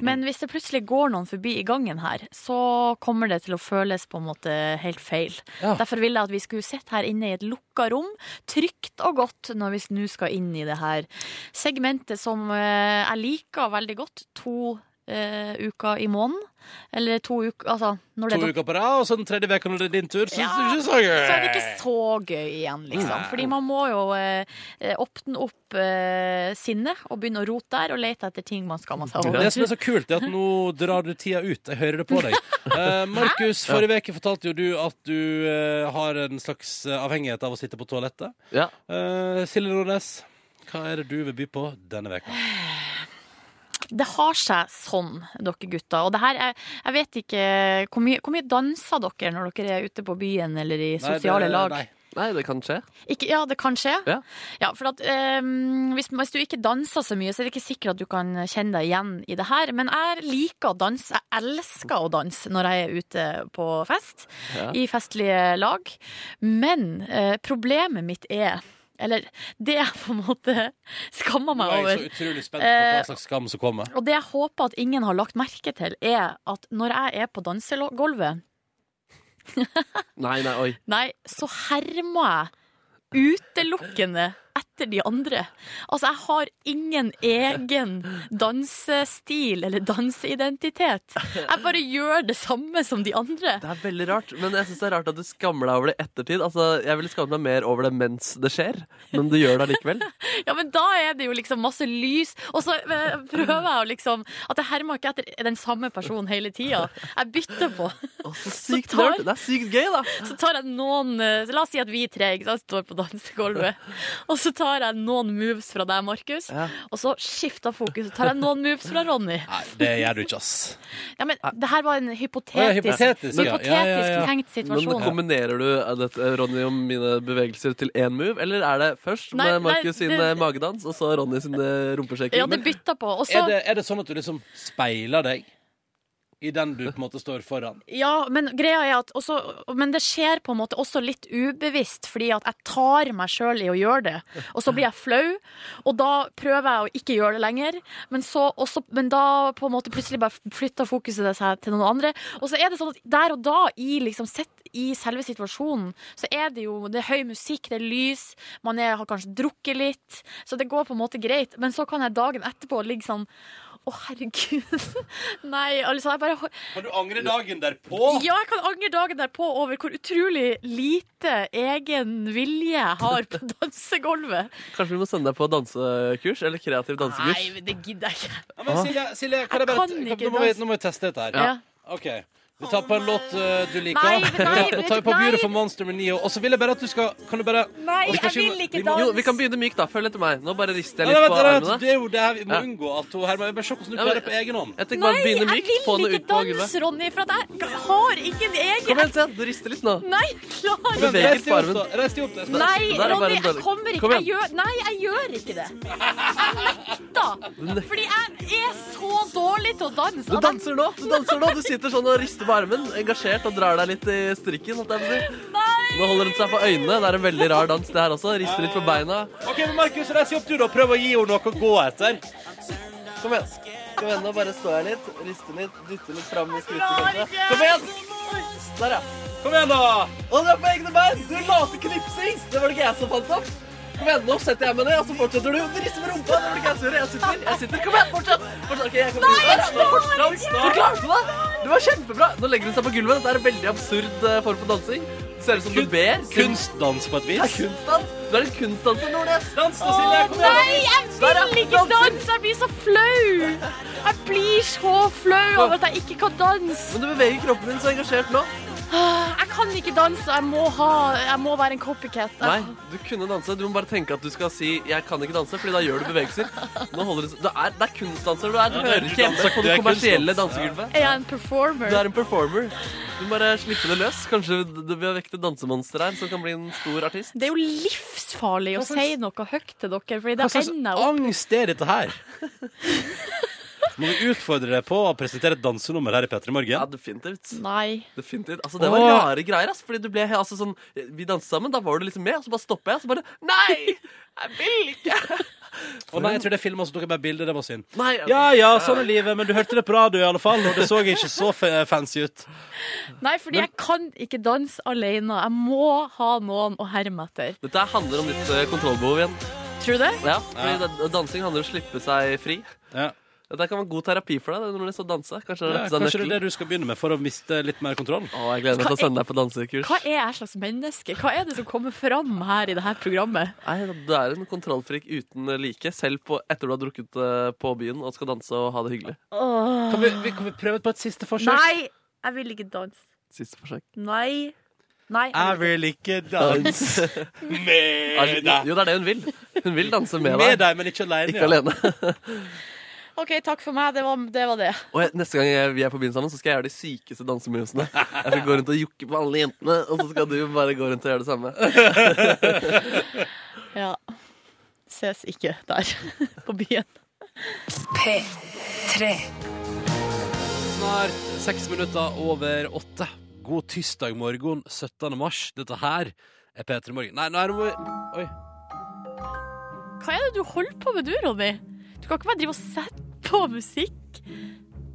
Men hvis det plutselig går noen forbi i gangen her, så kommer det til å føles på en måte helt feil. Ja. Derfor ville jeg at vi skulle sitte her inne i et lukka rom, trygt og godt, når vi nå skal inn i det her segmentet som eh, jeg liker veldig godt. To eh, uker i måneden. Eller to uker Altså, når det To er uker på rad, og så den tredje uka når det er din tur. Så Ja, det er ikke så gøy. så er det ikke så gøy igjen, liksom. Nei. Fordi man må jo eh, eh, åpne opp eh, sinnet og begynne å rote der og lete etter ting man skammer seg over. Det som er så kult, er at nå drar du tida ut. Jeg hører det på deg. Eh, Markus, forrige uke fortalte jo du at du eh, har en slags eh, avhengighet av å sitte på toalettet. Ja. Eh, Silje Nordnes, hva er det du vil by på denne veka? Eh, Det har seg sånn, dere gutter. Og det her er, jeg vet ikke hvor mye, hvor mye danser dere når dere er ute på byen eller i sosiale lag? Nei. Nei, det kan skje. Ikke, ja, det kan skje. Ja. Ja, for at, ehm, hvis, hvis du ikke danser så mye, så er det ikke sikkert at du kan kjenne deg igjen i det her. Men jeg liker å danse. Jeg elsker å danse når jeg er ute på fest, Ja. i festlige lag. Men eh, problemet mitt er Eller det jeg på en måte skammer Nå meg er over. jeg så utrolig spent på hva Eh, slags skam som kommer. Og det jeg håper at ingen har lagt merke til, er at når jeg er på dansegulvet, Nei, nei, oi. nei, så hermer jeg utelukkende etter de andre. Altså, jeg har ingen egen dansestil eller danseidentitet. Jeg bare gjør det samme som de andre. Det er veldig rart, men jeg syns det er rart at du skammer deg over det i ettertid. Altså, Jeg ville skammet meg mer over det mens det skjer, men du gjør det allikevel. Ja, men da er det jo liksom masse lys, og så eh, prøver jeg å liksom At jeg hermer ikke etter den samme personen hele tida. Jeg bytter på. Å, så sykt Så tar- rart. Det er sykt gøy, da. Så tar jeg noen eh, La oss si at vi tre ikke sant, står på dansegulvet. Og så tar jeg noen moves fra deg, Markus. Ja. Og så skifter jeg fokus. Så tar jeg noen moves fra Ronny. Nei, det gjør du ikke, ass. Ja, men det her var en Ah. Å, ja, hypotetisk, hypotetisk, ja. hypotetisk Ja, ja, ja. tenkt Men situasjon. Kombinerer du eh, dette, Ronny og mine bevegelser til én move, eller er det først Nei, med Markus nei, sin det- eh, magedans og så Ronny eh, sine rumpesjekker? ja, det bytta på. Og så Er det, er det sånn at du liksom speiler deg i den du på en måte står foran? Ja, men greia er at også, Men det skjer på en måte også litt ubevisst, fordi at jeg tar meg sjøl i å gjøre det. Og så blir jeg flau, og da prøver jeg å ikke gjøre det lenger. Men, så også, men da på en måte plutselig bare flytter fokuset det seg til noen andre. Og så er det sånn at der og da, i liksom sett i selve situasjonen, så er det jo det er høy musikk, det er lys, man er, har kanskje drukket litt, så det går på en måte greit. Men så kan jeg dagen etterpå ligge sånn Å, herregud. Nei, altså, jeg bare Kan du angre dagen derpå? Ja, jeg kan angre dagen derpå over hvor utrolig lite egen vilje jeg har på dansegulvet. Kanskje vi må sende deg på dansekurs? Eller kreativ dansekurs? Nei, det gidder jeg ikke. Ja, men Silje, Silje kan jeg bare kan kan, ikke nå, må vi, danse. nå må vi teste dette her. Ja. OK. Vi tar på en låt eh, du liker. Nei, Vi nei, tar- Nå tar vi på nei. Beautiful Monster med Nio. Og så vil jeg bare at du skal Kan du bare Nei, Vi kan jeg vil ikke vi må- Jo, vi kan begynne mykt, da. Følg etter meg. Nå bare rister Nei, jeg nei, litt vent, på vent, armene. Det er jo det her vi må Ja. unngå. At hun Herman, bare se hvordan du Ja, klarer men- det på egen hånd. Jeg tenker Nei, bare jeg begynne mykt, få vil henne ikke ut på gulvet. danse, Ronny, for at jeg har ikke en Kom egen igjen, se. Du rister litt nå. Nei, klarer Men ikke. beveger Reis deg opp, farven. da. Reis deg opp. da. Nei, Der er bare en Ronny, jeg dårlig- kommer ikke. Kom igjen. Jeg gjør, nei, jeg gjør ikke det. Jeg nekter. nek- Fordi jeg er så dårlig til å danse. Du danser nå! Du danser nå, du sitter sånn og rister på armen, engasjert og drar deg litt i strikken. holdt jeg på å si. Nei! Nå holder hun seg for øynene. Det er en veldig rar dans, det her også. Rister litt på beina. OK, men Markus, reis deg opp du, da. Prøv å gi henne noe å gå etter. Kom igjen. Kom igjen, Nå bare står jeg litt, rister litt, dytter litt fram i skrittet. Klarer kanskje. ikke. Kom igjen! Der, ja. Kom igjen, da. Og du er på egne bein! Du late knipsings! Det var det ikke jeg som fant opp. Kom igjen, nå setter jeg meg ned, og så fortsetter du. Du rister med rumpa. Det var det ikke jeg som gjorde. Jeg sitter. jeg sitter. Kom igjen, fortsett! fortsett. Ok, jeg kommer. Der, ja, nå fortsatt. Du klarte det! Du var kjempebra. Nå legger hun seg på gulvet. Dette er en veldig absurd eh, form for dansing. Det ser ut som du ber. Kunstdans på et Det er vis. kunstdans. Du er en kunstdanser, Nordnes. Dans da, Silje. Kom igjen. Nei, jeg vil ikke danse! Jeg blir så flau! Jeg blir så flau over at jeg ikke kan danse. Men du beveger kroppen din så engasjert nå. Jeg kan ikke danse, og jeg må, ha, jeg må være en copycat. Nei, du kunne danse. Du må bare tenke at du skal si 'jeg kan ikke danse', fordi da gjør du bevegelser. Nå holder du, du er, det er kunstdanser du er. Du hører ikke hjemme på du det er kommersielle kunstdanser. dansegulvet. Er jeg en performer? Du er en performer. Du må bare slippe det løs. Kanskje det blir vekket et dansemonster her som kan bli en stor artist. Det er jo livsfarlig å si noe høyt til dere, Fordi da Hva slags ender jeg opp angst er dette her? Må vi utfordre deg på å presentere et dansenummer her i P3 Ja, Morgen? definitivt. Nei. definitivt. Altså, det var Åh. rare greier. ass. Fordi du ble altså, sånn, Vi danset sammen, da var du liksom med, og så bare stoppa jeg. Og så bare Nei! Jeg vil ikke! Å nei, jeg tror det er filma, så tok jeg bare bilde. Det var synd. Nei, altså, Ja ja, sånn er livet, men du hørte det på radio i alle fall, og det så ikke så fa- fancy ut. Nei, fordi jeg kan ikke danse alene. Jeg må ha noen å herme etter. Dette her handler om ditt eh, kontrollbehov igjen. Tror du det? Ja, fordi da- Dansing handler om å slippe seg fri. Ja. Dette kan være god terapi for deg. når du så danse. Kanskje, Ja, kanskje rett til deg det er nøkkelen. det du skal begynne med for å miste litt mer kontroll? Å, jeg gleder meg til å sende deg på dansekurs. Hva er jeg slags menneske? Hva er det som kommer fram her i dette programmet? Nei, du er en kontrollfrik uten like, selv på, etter du har drukket eh, på byen og skal danse og ha det hyggelig. Kan vi, vi, kan vi prøve på et siste forsøk? Nei, jeg vil ikke danse. Siste forsøk. Nei. Nei. Jeg vil ikke danse med Jo, deg. det er det hun vil. Hun vil danse med Med deg. deg, men ikke alene. Ikke ja. alene. OK, takk for meg. Det var det. Var det. Og jeg, neste gang jeg- vi er på byen sammen, så skal jeg gjøre de sykeste dansemovesene. Jeg skal gå rundt og jokke på alle jentene, og så skal du bare gå rundt og gjøre det samme. Ja. Ses ikke der på byen. P3. Snart seks minutter over åtte. God tirsdag morgen 17. mars. Dette her er P3 Morgen. Nei, nå er det hvor- Oi. Hva er det du holder på med, du, Ronny? Du kan ikke bare drive og sette på musikk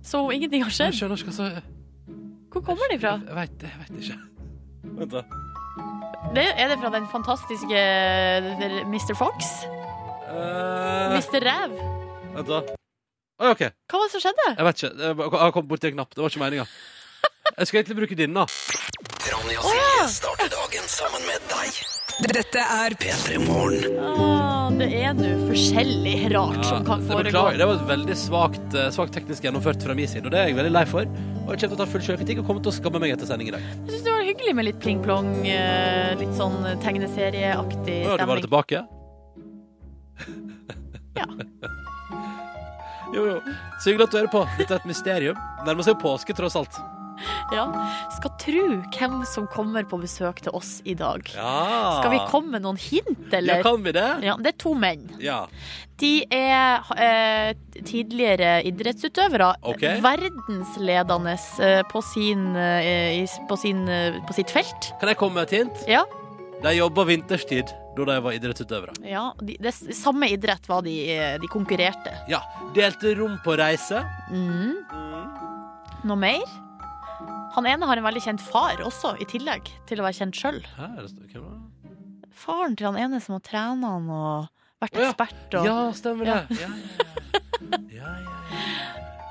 som om ingenting har Jeg skjedd. skjønner ikke hva som Hvor kommer de fra? Jeg veit jeg vet ikke. Vent, da. Det, er det fra den fantastiske Mr. Fox? Eh, Mr. Ræv? vent, da. Oi, OK. Jeg Hva var det som skjedde? vet ikke. Jeg bare- Jeg har kommet borti en knapp. Det var ikke meninga. Jeg skulle egentlig bruke denne. Ronny og Silje starter dagen sammen med deg. Dette er P3 Morgen. Ah, det er nå forskjellig rart som kan det foregå. beklager. Det var et veldig svakt, eh, svakt teknisk gjennomført fra min side, og det er jeg veldig lei for. Og jeg kommer til å ta full sjøkritikk og kommer til å skamme meg etter sending i dag. Jeg syns det var hyggelig med litt pling-plong, eh, litt sånn Å, tegneserieaktig ja, du var stemning. tilbake? Ja. jo, jo. Så hyggelig at du hører på. Dette er et mysterium. Nærmer seg jo påske, tross alt. Ja. Skal tru hvem som kommer på besøk til oss i dag. Ja. Skal vi komme med noen hint, Ja, eller? kan vi det? Ja, det er to menn. Ja. De er eh, tidligere idrettsutøvere. Ok. Verdensledende eh, på, sin, eh, i- på, sin, eh, på sitt felt. Kan jeg komme med et hint? Ja. De jobba vinterstid da de var idrettsutøvere. ja de, det s- samme idrett var de, eh, de konkurrerte. Ja. Delte rom på reise. Mm. Noe mer? Han ene har en veldig kjent far også, i tillegg til å være kjent sjøl. Hæ, er det st- hvem var det? Faren til han ene som har trena han og vært Å ja. ekspert og Ja, stemmer det. Ja, ja, ja. Ja, ja.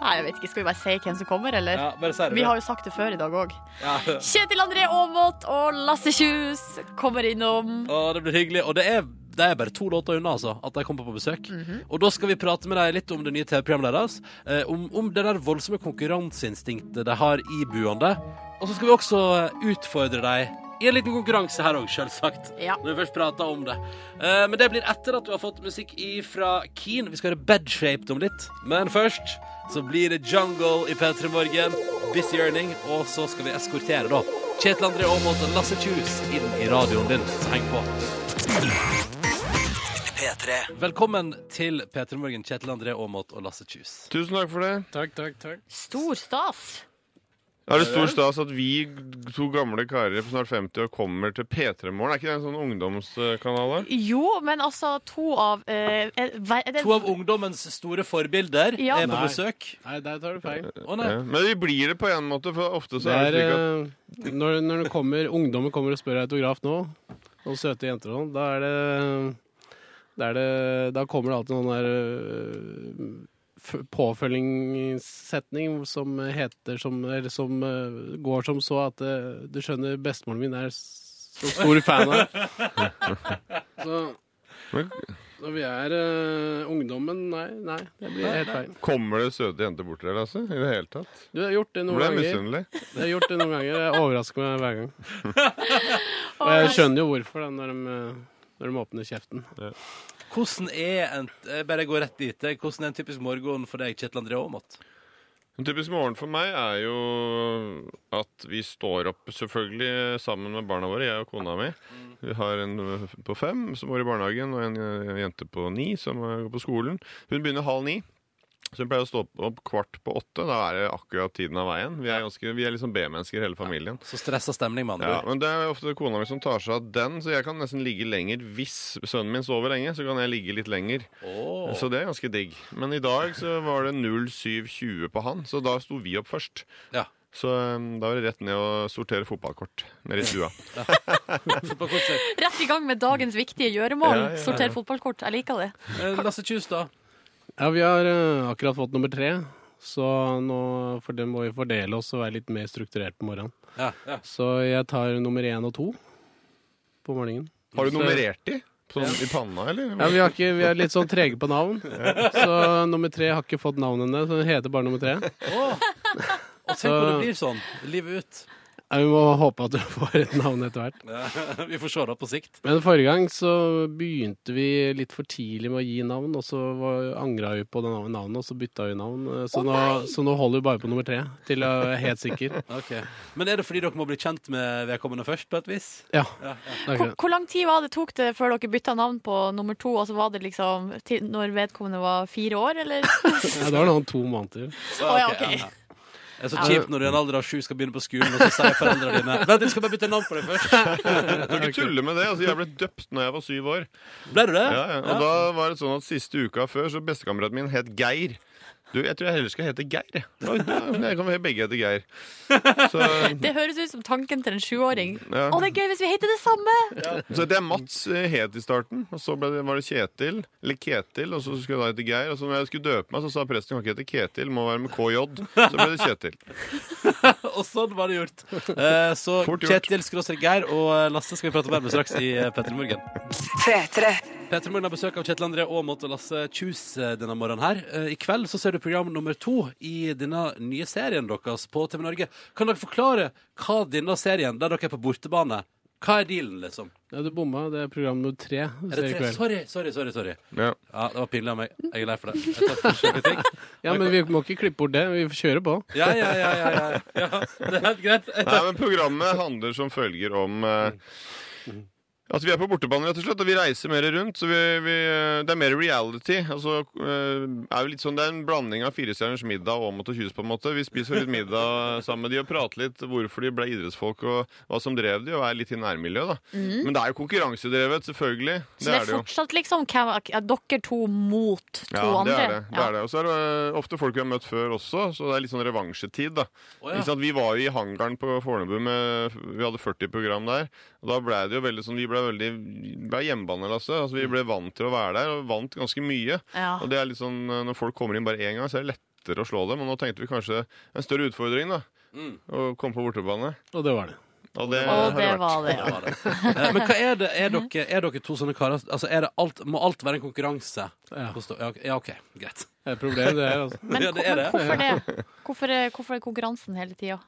Nei, jeg vet ikke, Skal vi bare si hvem som kommer, eller? ja bare si det. Vi har jo sagt det før i dag òg. ja. Kjetil André Aamodt og Lasse Kjus kommer innom. Å, det blir hyggelig. Og det er, det er bare to låter unna, altså, at de kommer på besøk. Mhm. Og da skal vi prate med dem litt om det nye TV-programmet deres. Eh, om, om det der voldsomme konkurranseinstinktet de har ibuende. Og så skal vi også eh, utfordre dem i en liten konkurranse her òg, selvsagt. Ja. Når vi først prater om det. Eh, men det blir etter at du har fått musikk ifra Keen. Vi skal høre Bedshaped om litt. Men først så blir det Jungle i P3 Morgen. Busy Earning. Og så skal vi eskortere, da. Kjetil André Aamodt og Lasse Kjus inn i radioen din, så heng på. P3. Velkommen til P3 Morgen, Kjetil André Aamodt og Lasse Kjus. Tusen takk for det. Takk, takk, takk. Stor stas. Er det stor stas at vi to gamle karer på snart 50 år kommer til P3 Morgen? Er ikke det en sånn ungdomskanal? da? Jo, men altså to av eh, er, er det, To av ungdommens store forbilder Ja. er på Nei. besøk. Nei, der tar du feil. Å nei. Ja. Men vi blir det på en måte, for ofte så Det er er, det slik at eh, når, når det kommer, ungdommer kommer og spør autograf nå, og søte jenter og sånn, da er det, da er det Da kommer det alltid noen der eh, f- påfølgingssetning som heter som Eller som eh, går som så at eh, du skjønner bestemoren min er så stor fan av deg. Så eh, Men- når vi er eh, ungdommen Nei, nei, det blir helt feil. Kommer det søte jenter bort til deg, Lasse? I det hele tatt? Du har gjort det noen Ble jeg ganger. misunnelig? Jeg har gjort det noen ganger. Jeg overrasker meg hver gang. Og jeg eh, skjønner jo hvorfor da, når de, når de åpner kjeften. Hvordan er en jeg bare går rett dit, jeg. hvordan er en typisk morgen for deg, Kjetil André Aamodt? En typisk morgen for meg er jo at vi står opp selvfølgelig sammen med barna våre, jeg og kona mi. Vi har en eh, på fem som går i barnehagen, og en eh, jente på ni som eh, går på skolen. Hun begynner halv ni. Så hun pleier å stå opp- opp kvart på åtte. Da er det akkurat tiden av veien. Vi er, ganske, vi er liksom B-mennesker, hele familien. Så stressa stemning, med andre Ja, ord. men det er ofte kona mi som tar seg av den, så jeg kan nesten ligge lenger. Hvis sønnen min sover lenge, så kan jeg ligge litt lenger. Åh. Så det er ganske digg. Men i dag så var det 07.20 på han, så da sto vi opp først. Ja. Så um, da var det rett ned og sortere fotballkort nede i stua. På konsert. Rett i gang med dagens viktige gjøremål. Ja, ja, ja. Sorter fotballkort. Jeg liker det. Eh, Lasse Kjus, da? Ja, vi har eh, akkurat fått nummer tre, så nå for det må vi fordele oss og være litt mer strukturert på morgenen. Ja, ja. Så jeg tar nummer én og to på morgenen. Har du nummerert de? Sånn i panna, eller? Ja, Vi, har ikke, vi er litt sånn trege på navn, så nummer tre har ikke fått navn ennå. Så den heter bare nummer tre. Åh. Og tenk om det blir sånn livet ut. Ja, vi må håpe at du får et navn etter hvert. Vi får se det på sikt. Men forrige gang så begynte vi litt for tidlig med å gi navn, og så var- angra vi på det nav- navnet, og så bytta vi navn. eh, Så, nå, så nå holder vi bare på nummer tre, til jeg er helt sikker. Ok. Men er det fordi dere må bli kjent med vedkommende først, på et vis? Ja. Hvor, Takk. hvor lang tid var det tok det før dere bytta navn på nummer to? Altså var det liksom til, når vedkommende var fire år, eller? Ja, det var noen to måneder. Å, ja, ok, ok. ja. Det er så kjipt når du i en alder av sju skal begynne på skolen, og så sier foreldrene dine Vent, jeg skal bare bytte navn på deg først. Du kan ikke tulle med det. Altså, jeg ble døpt når jeg var syv år. Ble du det? Ja, ja. Og da var det sånn at siste uka før så bestekameraten min het Geir. Du, jeg tror jeg heller skal hete Geir. jeg. Da, da, jeg kan begge hete Geir. Så, Det høres ut som tanken til en sjuåring. Ja. Å, det er gøy hvis vi heter det samme! så det er Mats eh, het i starten, og så ble det, var det Kjetil, eller Ketil, og så skulle jeg da hete Geir. Og så når jeg skulle døpe meg, så sa presten kan ikke hete Ketil, må være med KJ. Så ble det Kjetil. Og sånn var det gjort. Eh, så Fort gjort. Kjetil Skråstrek Geir og Lasse skal vi prate mer med straks i P3 Morgen. P3. P3 Morgen har besøk av Kjetil André Aamodt og Lasse Kjus eh, denne morgenen her. Eh, I kveld så ser du program nummer to i denne nye serien deres på TV Norge. Kan dere forklare hva denne serien, der dere er på bortebane, hva er dealen, liksom? Ja, du bomma. Det er program nummer tre. du Er ser i det tre? kveld. Sorry, sorry, sorry. sorry. Ja. Ja, Det var pinlig av meg. Jeg er lei for det. Jeg tar selvkritikk. Ja, men vi må ikke klippe bort det. Vi kjører på. Ja, ja, ja, ja, ja. ja. Det er helt greit. Jeg Nei, men Programmet handler som følger om eh, at vi er på bortebane, rett og slett. Og vi reiser mer rundt. Så vi, vi, eh, det er mer reality. Altså, eh, er vi litt sånn, det er en blanding av Firestjerners middag og Åmot og Kjus, på en måte. Vi spiser litt middag sammen med de og prater litt hvorfor de ble idrettsfolk, og hva som drev de, og er litt i nærmiljøet, da. Men det er jo konkurransedrevet, selvfølgelig. Mhm. Så det er fortsatt liksom hvem, ja, dere to mot to Ja, det andre. er det. det, er det. Og så er det øh, ofte folk vi har møtt før også, så det er litt sånn revansjetid. da. Å, ja. Ikke sant? Vi var jo i hangaren på Fornebu, med, vi hadde 40 program der. og Da ble det jo veldig sånn, Vi ble ble veldig ble hjemmebane, Lasse. Altså, Mm. vi ble vant til å være der, og vant ganske mye. Ja. Og det er litt sånn, eh, Når folk kommer inn bare én gang, så er det lettere å slå dem. Og nå tenkte vi kanskje en større utfordring, da. Mm. Å komme på bortebane. Og det var det. Og det, Og har det vært. var det. Ja, det. Eh, Men hva er det? Er dere, er dere to sånne karer? Altså, er det alt, må alt være en konkurranse? Ja. Forstå- Ja, ok- ja, OK. Greit. Det er et problem, det her. Altså. Men, Ja, det er men det. hvorfor det? Hvorfor, hvorfor er konkurransen hele tida?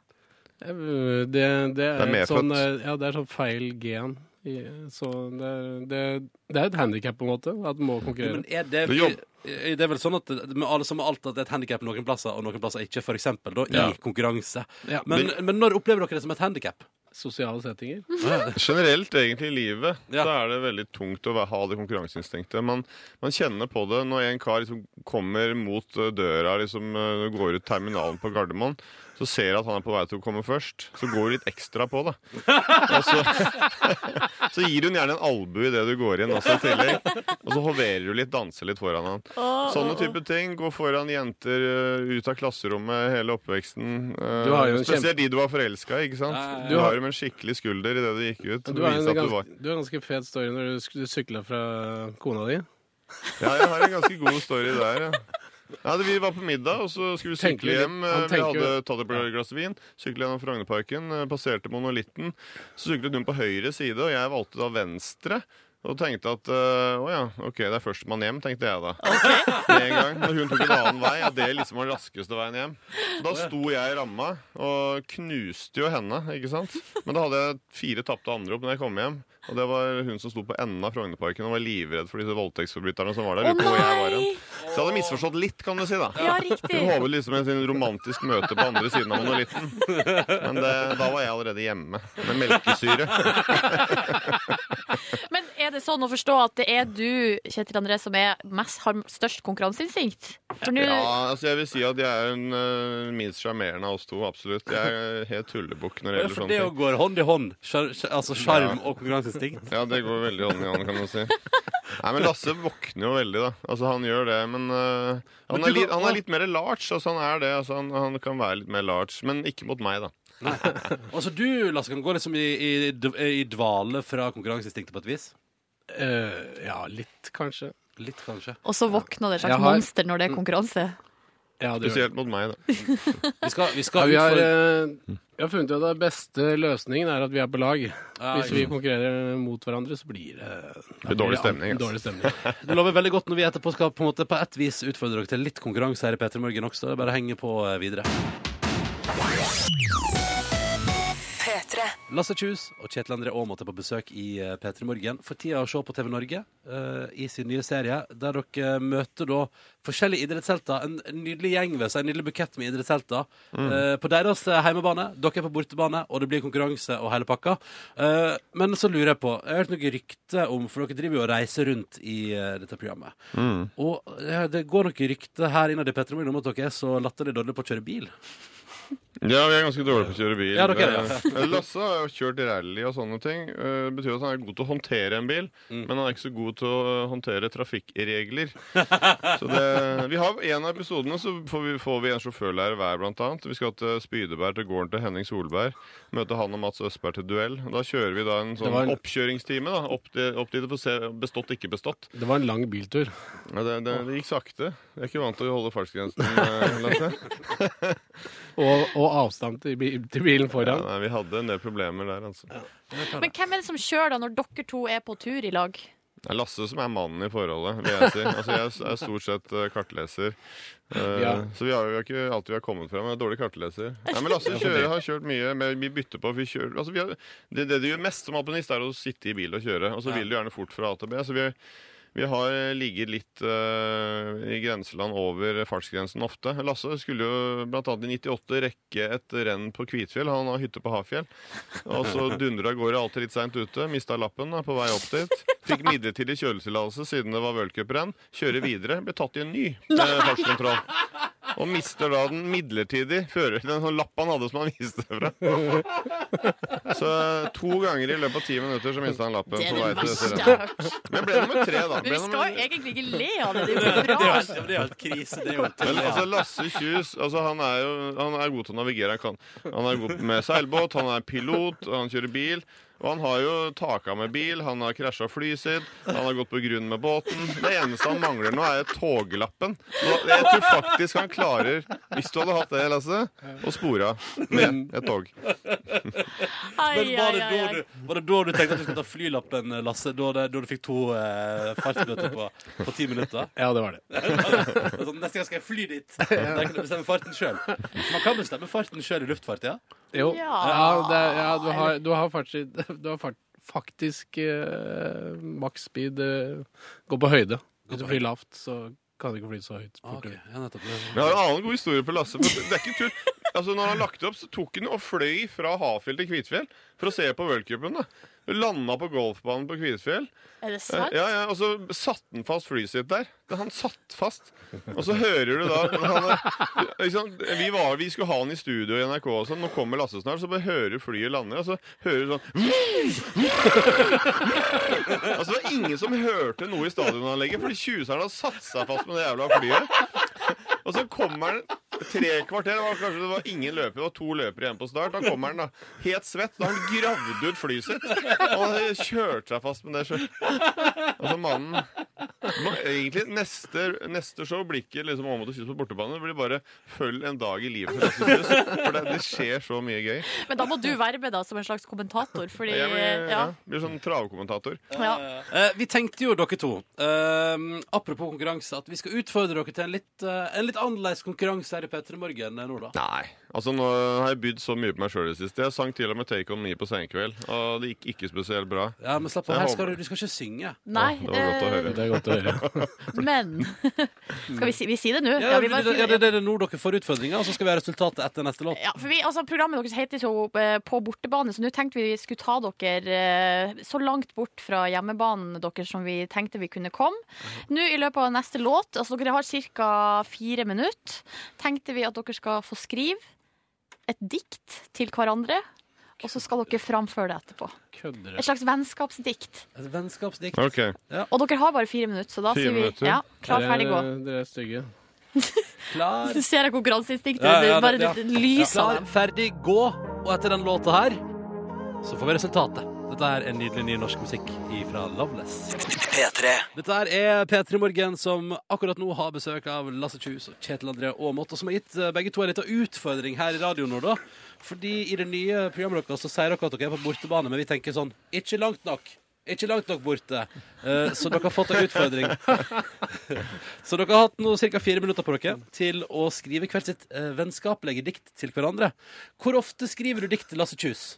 Det, det, er medfødt. et sånn, eh, ja, det er sånn feil gen. i- Så det, er- det, det er et handikap på en måte, at man må Jo, konkurrere. Men er det, Det er jobb. eh, det er vel sånn at det- med alle som har alt at det er et handikap noen plasser, og noen plasser ikke, for eksempel, da, i Ja. konkurranse. Ja. Men, men når opplever dere det som et handikap? Sosiale settinger. Generelt, egentlig, i livet Ja. så er det veldig tungt å væ- ha det konkurranseinstinktet. Man, man kjenner på det når en kar liksom kommer mot eh, døra, liksom eh, går ut terminalen på Gardermoen, så ser jeg at han er på vei til å komme først. Så går du litt ekstra på, da. Og så, så gir hun gjerne en albue idet du går inn også i tillegg. Og så hoverer du litt, danser litt foran han. Sånne type ting. Gå foran jenter eh, ut av klasserommet hele oppveksten. eh, Du har jo en Spesielt de du var forelska i. ikke sant? Ja, ja, ja. Du har jo med en skikkelig skulder idet du gikk ut. Du og har en viste at du var. ganske, du har en ganske fet story når du, sk- du sykla fra kona di. Ja, jeg har en ganske god story der, ja. Nei, det- vi var på middag, og så skulle vi Tenker sykle litt- hjem. han Eh, Vi tenker- hadde tatt et glass vin, syklet gjennom Frognerparken, eh, passerte monolitten. Så syklet hun på høyre side, og jeg valgte da venstre. Og tenkte at eh, å ja, ok, det er førstemann hjem, tenkte jeg da. Med en gang. Når hun tok en annen vei, at det liksom var den raskeste veien hjem. Da sto jeg i ramma og knuste jo henne, ikke sant. Men da hadde jeg fire tapte anrop når jeg kom hjem. Og det var hun som sto på enden av Frognerparken og var livredd for disse voldtektsforbryterne som var der. Å Lurte på hvor jeg var hen. nei! Så jeg hadde misforstått litt, kan du si. da Ja, Hun riktig. håpet liksom et romantisk møte på andre siden av monolitten. Men det, da var jeg allerede hjemme med melkesyre. Men er det sånn å forstå at det er du, Kjetil André, som er mest, har størst konkurranseinstinkt? For nå Ja, altså Jeg vil si at jeg er en eh, minst sjarmerende av oss to. Absolutt. Jeg er helt tullebukk når det gjelder For det sånne jo ting. går hånd i hånd. Skjar- skj- Altså sjarm og konkurranseinstinkt. Ja, det går veldig hånd i hånd, kan du si. Nei, men Lasse våkner jo veldig, da. Altså, han gjør det, men eh, Men han, du er litt, går- han er litt mer large. Altså, han er det. Altså, han, han kan være litt mer large, men ikke mot meg, da. Altså Du Lasse, kan gå liksom i, i, dv- i dvale fra konkurranseinstinktet på et vis. Eh, ja, litt kanskje. Litt, kanskje. Og så våkner det et Jeg slags har- monster når det er konkurranse. Ja, det gjør det. Spesielt mot meg, da. Vi skal, vi Ja, skal vi, har, utfordre- eh, vi har funnet ut at den beste løsningen er at vi er på lag. Ja, Hvis ikke vi sant. konkurrerer mot hverandre, så blir det, blir dårlig stemning, ass. Dårlig stemning. Det lover veldig godt når vi etterpå skal på, en måte, på et vis utfordre dere til litt konkurranse her i P3 Morgen også. Bare henge på eh, videre. P3. Lasse Kjus og Kjetil André Aamodt er på besøk i eh, P3 Morgen for tida å se på TV Norge eh, i sin nye serie, der dere eh, møter da forskjellige idrettshelter. En en nydelig gjeng ved seg, en nydelig bukett med idrettshelter. eh, på deres eh, heimebane, dere er på bortebane, og det blir konkurranse og hele pakka. Eh, men så lurer jeg på, jeg har hørt noen rykter om, for dere driver jo og reiser rundt i eh, dette programmet. Og eh, det går noen rykter her innad i P3 Morgen om at dere er så latterlig dårlige på å kjøre bil. Ja, vi er ganske dårlige på å kjøre bil. Ja, dere er det, Eh, Lasse har jo kjørt rally og sånne ting. Eh, Det betyr at han er god til å håndtere en bil, Mm. men han er ikke så god til å eh, håndtere trafikkregler. Så det, vi har en av episodene, så får vi, får vi en sjåførlærer hver, blant annet. Vi skal til Spydeberg, til gården til Henning Solberg. Møte han og Mats Østberg til duell. Da kjører vi da en sånn var en- oppkjøringstime da, opp, til, opp dit for å se bestått, ikke bestått. Det var en lang biltur. Ja, det, det, det gikk sakte. Jeg er ikke vant til å holde fartsgrensen, eh, Lasse. Og, og avstand til, bi- til bilen Ja, foran. nei, vi hadde en del problemer der, altså. Men hvem er det som kjører da når dere to er på tur i lag? Det er Lasse som er mannen i forholdet, vil jeg si. Altså, jeg er stort sett eh, kartleser. Eh, Ja. Så vi har jo ikke alltid vi har kommet fram. Jeg er dårlig kartleser. Nei, men Lasse kjører, har kjørt mye. Men vi bytter på. Vi kjører, altså, vi har, det, det du gjør mest som alpinist, er å sitte i bil og kjøre. Og så vil du gjerne fort fra A til B. Så vi, vi har ligget litt eh, i grenseland over fartsgrensen ofte. Lasse skulle jo bl.a. i 98 rekke et renn på Kvitfjell. Han har hytte på Hafjell. Og så dundra av gårde alltid litt seint ute. Mista lappen da, på vei opp dit. Fikk midlertidig kjøretillatelse siden det var worldcuprenn. Kjører videre. Ble tatt i en ny eh, fartskontroll. Og mister da den midlertidig fører den sånn lapp han hadde som han viste fra. Så eh, to ganger i løpet av ti minutter så mista han lappen Det er på det vei til verste dette jeg rennet. har hørt. Men ble nummer tre, da. Men vi Ble nummer- skal jo egentlig ikke le av det, det er jo bra. Det er jo et krise. Det er jo et Men altså, Lasse Kjus altså, han, er jo, han er god til å navigere. Han, kan, han er god med seilbåt, han er pilot, han kjører bil. Og han har jo taka med bil, han har krasja flyet sitt, han har gått på grunn med båten. Det eneste han mangler nå, er toglappen. Så jeg tror faktisk han klarer, hvis du hadde hatt det, Lasse, å spore av med et tog. Men var Ai, ai, det, ai, da ai. du, var det da du tenkte at du skulle ta flylappen, eh, Lasse? Da, det, da du fikk to eh, fartsbøter på, på ti minutter? Ja, det var det. Det er sånn, Neste gang skal jeg fly dit! Der kan du bestemme farten sjøl. Man kan bestemme farten sjøl i luftfart, ja? Jo. Ja. Ja, det, er- ja du har, du har, faktisk, du har fart, faktisk eh, maks speed eh, Gå på høyde. Hvis du flyr lavt, så kan du ikke fly så høyt. Ah, fort. ok. ja nettopp. Men jeg har en annen god historie på Lasse. For det er ikke tull. Altså, når han lagt opp, så tok han og fløy fra Hafjell til Kvitfjell for å se på worldcupen. da. Landa på golfbanen på Kvitfjell. Er det Eh, sant? Ja, ja, og så satte han fast flyet sitt der. Det- Han satt fast. Og så hører du da han, er- liksom, vi, var, vi skulle ha han i studio i NRK og sånn. Nå kommer Lasse snart. Så bare hører du flyet lande, og så hører du sånn Altså Det var ingen som hørte noe i stadionanlegget, fordi tjuseren hadde satt seg fast med det jævla flyet. Og så kommer han tre kvarter. Det var kanskje det var ingen løpere, det var to løpere igjen på start. Da kommer han da helt svett. Da har han gravd ut flyet sitt. Og han kjørte seg fast med det sjøl. Altså mannen Ma- Egentlig neste, neste show blir ikke liksom Åmot og kyss på bortebane. Det blir bare 'følg en dag i livet'. For, Lasse Kjus, for det, det skjer så mye gøy. Men da må du være med da som en slags kommentator, fordi Jeg blir, ja, ja. blir sånn travkommentator. Ja. Eh, vi tenkte jo, dere to, eh, apropos konkurranse, at vi skal utfordre dere til en litt, eh, en litt annerledes konkurranse her i P3 Morgen eh, nå, da. Nei. Altså Nå har jeg bydd så mye på meg sjøl i det siste. Jeg sang til og med 'Take On Me' på senkveld, og det gikk ikke spesielt bra. Ja, men slapp Jeg av, her håper- skal du, du skal ikke synge. Nei, det var godt å høre. eh, Det er godt å høre. men Skal vi si, vi si det nå? Ja, vi det, bare det, sier ja, det, det er nå dere får utfordringa, og så skal vi ha resultatet etter neste låt. Ja, for vi, altså, Programmet deres heter jo eh, På bortebane, så nå tenkte vi vi skulle ta dere eh, så langt bort fra hjemmebanen deres som vi tenkte vi kunne komme. Mhm. Nå i løpet av neste låt, altså dere har ca. fire minutter, tenkte vi at dere skal få skrive et dikt til hverandre. Og så skal dere framføre det etterpå. Kødder Et slags vennskapsdikt. Et vennskapsdikt. Ok, Og dere har bare fire minutter, så da Fire sier minutter. vi ja, klar, Dere er- ferdig, gå. Dere er stygge. Klar, Eh. Du ser jeg konkurranseinstinktet. Ja, ja, det bare det- det, lyser av klar, dem. ferdig, gå. Og etter den låta her så får vi resultatet. Dette er en nydelig ny norsk musikk fra Loveless. P3. Dette her er P3 Morgen, som akkurat nå har besøk av Lasse Kjus og Kjetil André Aamodt, og som har gitt eh, begge to en liten utfordring her i radioen nå, da. Fordi i det nye programmet deres så sier dere at dere er på bortebane, men vi tenker sånn Ikke langt nok. Ikke langt nok borte. Eh, Så dere har fått en utfordring. Så dere har hatt nå ca. fire minutter på dere til å skrive hvert sitt eh, vennskapelige dikt til hverandre. Hvor ofte skriver du dikt til Lasse Kjus?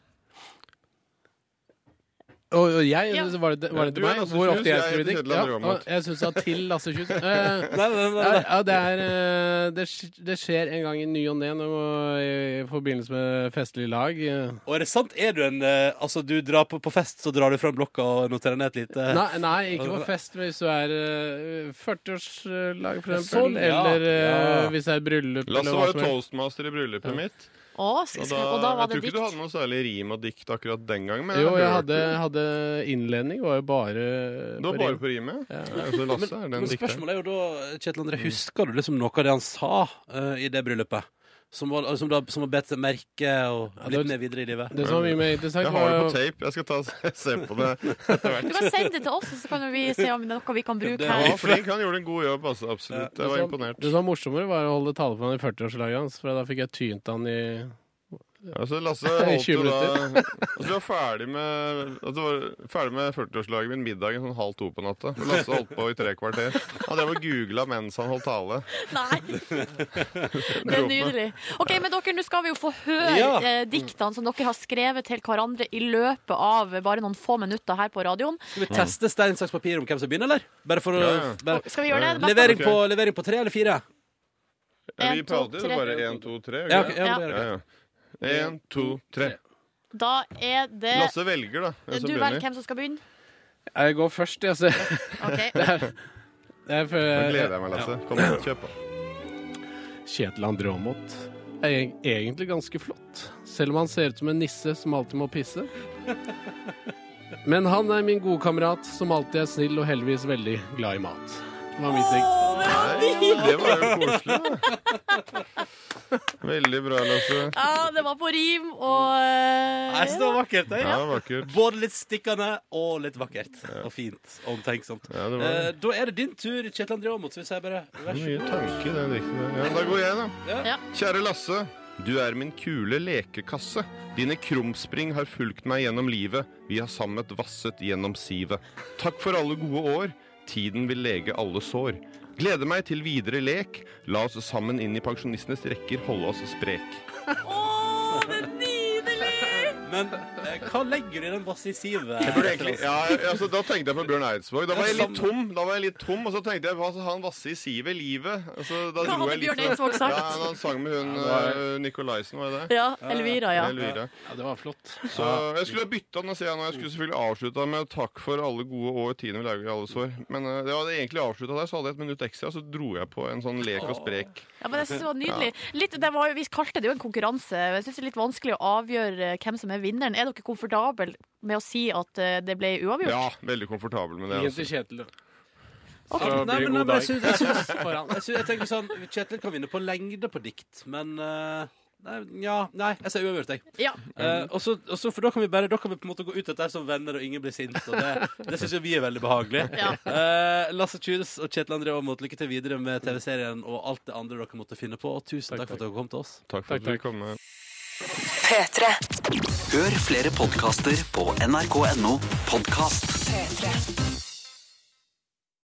Og, og jeg, Ja. var det, var det til Du er meg? Lasse Hvor Kjus, ofte jeg jeg skriver heter dikt? Kjetil Ja, André Aamodt. og jeg syns du sa til Lasse Kjus. Eh, Nei, nei, nei, Ja, nei. ja, det, er, eh, det, sk- det skjer en gang i ny og ne når- i i forbindelse med festlig lag. eh. Og er det sant? Er du en eh, Altså, du drar på, på fest, så drar du fram blokka og noterer ned et lite Nei, nei, ikke på fest, men hvis du er eh, 40-årslag, for Sånn, eksempel. ja. Eller eh, Ja. hvis det er bryllup. Lasse eller var hva jo som helst. toastmaster i bryllupet mitt. Å, skal, Og skal, da, og da jeg var tror det ikke du hadde dikt. noe særlig rim og dikt akkurat den gangen. Men Jo, hørte- jeg hadde, hadde innledning, var jo bare Det var på bare rim. på rimet? Ja, så Lasse er den Men dikteren. spørsmålet er jo da, Kjetil André, husker du liksom noe av det han sa eh, i det bryllupet? Som var, som da, som har bedt seg merke og det er- blitt med videre i livet? Det som var mye mer Jeg interessant, har det på var jo tape. Jeg skal ta, se på det. Du kan sende det til oss, så kan vi se om det er noe vi kan bruke Han her. var flink, han gjorde en god jobb. Altså, absolutt. Jeg var imponert. det som var morsommere, var å holde tale for han i 40-årslaget hans, for da fikk jeg tynt han i Altså, Lasse I holdt 20 jo da altså, Vi var ferdig med, altså, det var ferdig med 40-årslaget min middag en sånn halv to på natta. Og Lasse holdt på i tre kvarter. Han drev og googla mens han holdt tale. Nei, det er nydelig. Ok, men dere, Nå skal vi jo få høre Ja. eh, diktene som dere har skrevet til hverandre i løpet av bare noen få minutter her på radioen. Skal vi teste stein, saks, papir om hvem som begynner, eller? Bare for å Ja, ja. bare, Skal vi gjøre det? det? levering, Ok. på, levering på tre eller fire? Ja, vi En, to, prater tre. jo bare én, to, tre. Ja, ok, ikke det? ja, Ja. det gjør Ja, jeg. ja. Én, to, tre. beste? Da er det Lasse velger, da. hvem som Eh, Du begynner. velger hvem som skal begynne. Jeg går først, jeg. Så Ok, det er for, Nå gleder jeg meg, Lasse. Kom igjen, kjøp. da. Kjetil André Aamodt er eg- egentlig ganske flott, selv om han ser ut som en nisse som alltid må pisse. Men han er min gode kamerat som alltid er snill og heldigvis veldig glad i mat. Det var mitt dikt. Nei, det var jo koselig, da. Veldig bra, Lasse. Ja, det var på rim, og eh, Jeg synes det var vakkert. Jeg. Ja, vakkert. Både litt stikkende og litt vakkert. Og fint og omtenksomt. Ja, det var Eh, det. da er det din tur, Kjetil André Aamodt. Så vil jeg si bare Mm. vær så Mye god. tanke i den dikten der. Ja, da går jeg, da. Ja. Ja. Kjære Lasse. Du er min kule lekekasse. Dine krumspring har fulgt meg gjennom livet. Vi har sammet vasset gjennom sivet. Takk for alle gode år. Tiden vil lege alle sår. Gleder meg til videre lek. La oss sammen inn i pensjonistenes rekker holde oss sprek. Å, det er nydelig! Men eh, hva legger du i den basse i sivet? Burde egentlig- Ja, altså, da tenkte jeg på Bjørn Eidsvåg. Da var jeg litt Samme. tom, da var jeg litt tom og så tenkte jeg hva skal han vasse i sivet livet? Altså, da Hva dro hadde jeg litt Bjørn fra- Eidsvåg sagt? Ja, han- han sang med hun eh, Nicolaisen, var det det? Ja, Elvira, ja. Elvira. Ja, det var flott. Så jeg skulle ha bytta den, sier jeg nå. Jeg skulle selvfølgelig avslutta med 'takk for alle gode år, tiende vi lager i alles år'. Men eh, det hadde egentlig avslutta der, så hadde jeg et minutt ekstra, så dro jeg på en sånn lek og sprek. Ja, men jeg synes det var nydelig. Litt, det var jo, vi kalte det jo en konkurranse. men Jeg synes det er litt vanskelig å avgjøre eh, hvem som er vinneren. Er dere komfortable med å si at eh, det ble uavgjort? Ja, veldig komfortabel med det. Ingen Altså. til Kjetil, du. Ok. Nei, Så blir men, det nei, god men jeg dag. synes, jeg synes, jeg synes, jeg tenker sånn, Kjetil kan vinne på lengde på dikt, men eh, nei, ja, nei, jeg sier uavgjort, jeg. Ja. Eh, og så- og så- for da kan vi bare Da kan vi på en måte gå ut etter som venner, og ingen blir sint. Og det det syns jo vi er veldig behagelig. Ja. Eh, Lasse Kjus og Kjetil André Aamodt, lykke til videre med TV-serien og alt det andre dere måtte finne på. Og tusen takk, for at dere kom til oss. Takk for at dere kom. eh. Med. P3. Hør flere podkaster på nrk.no podkast. P3.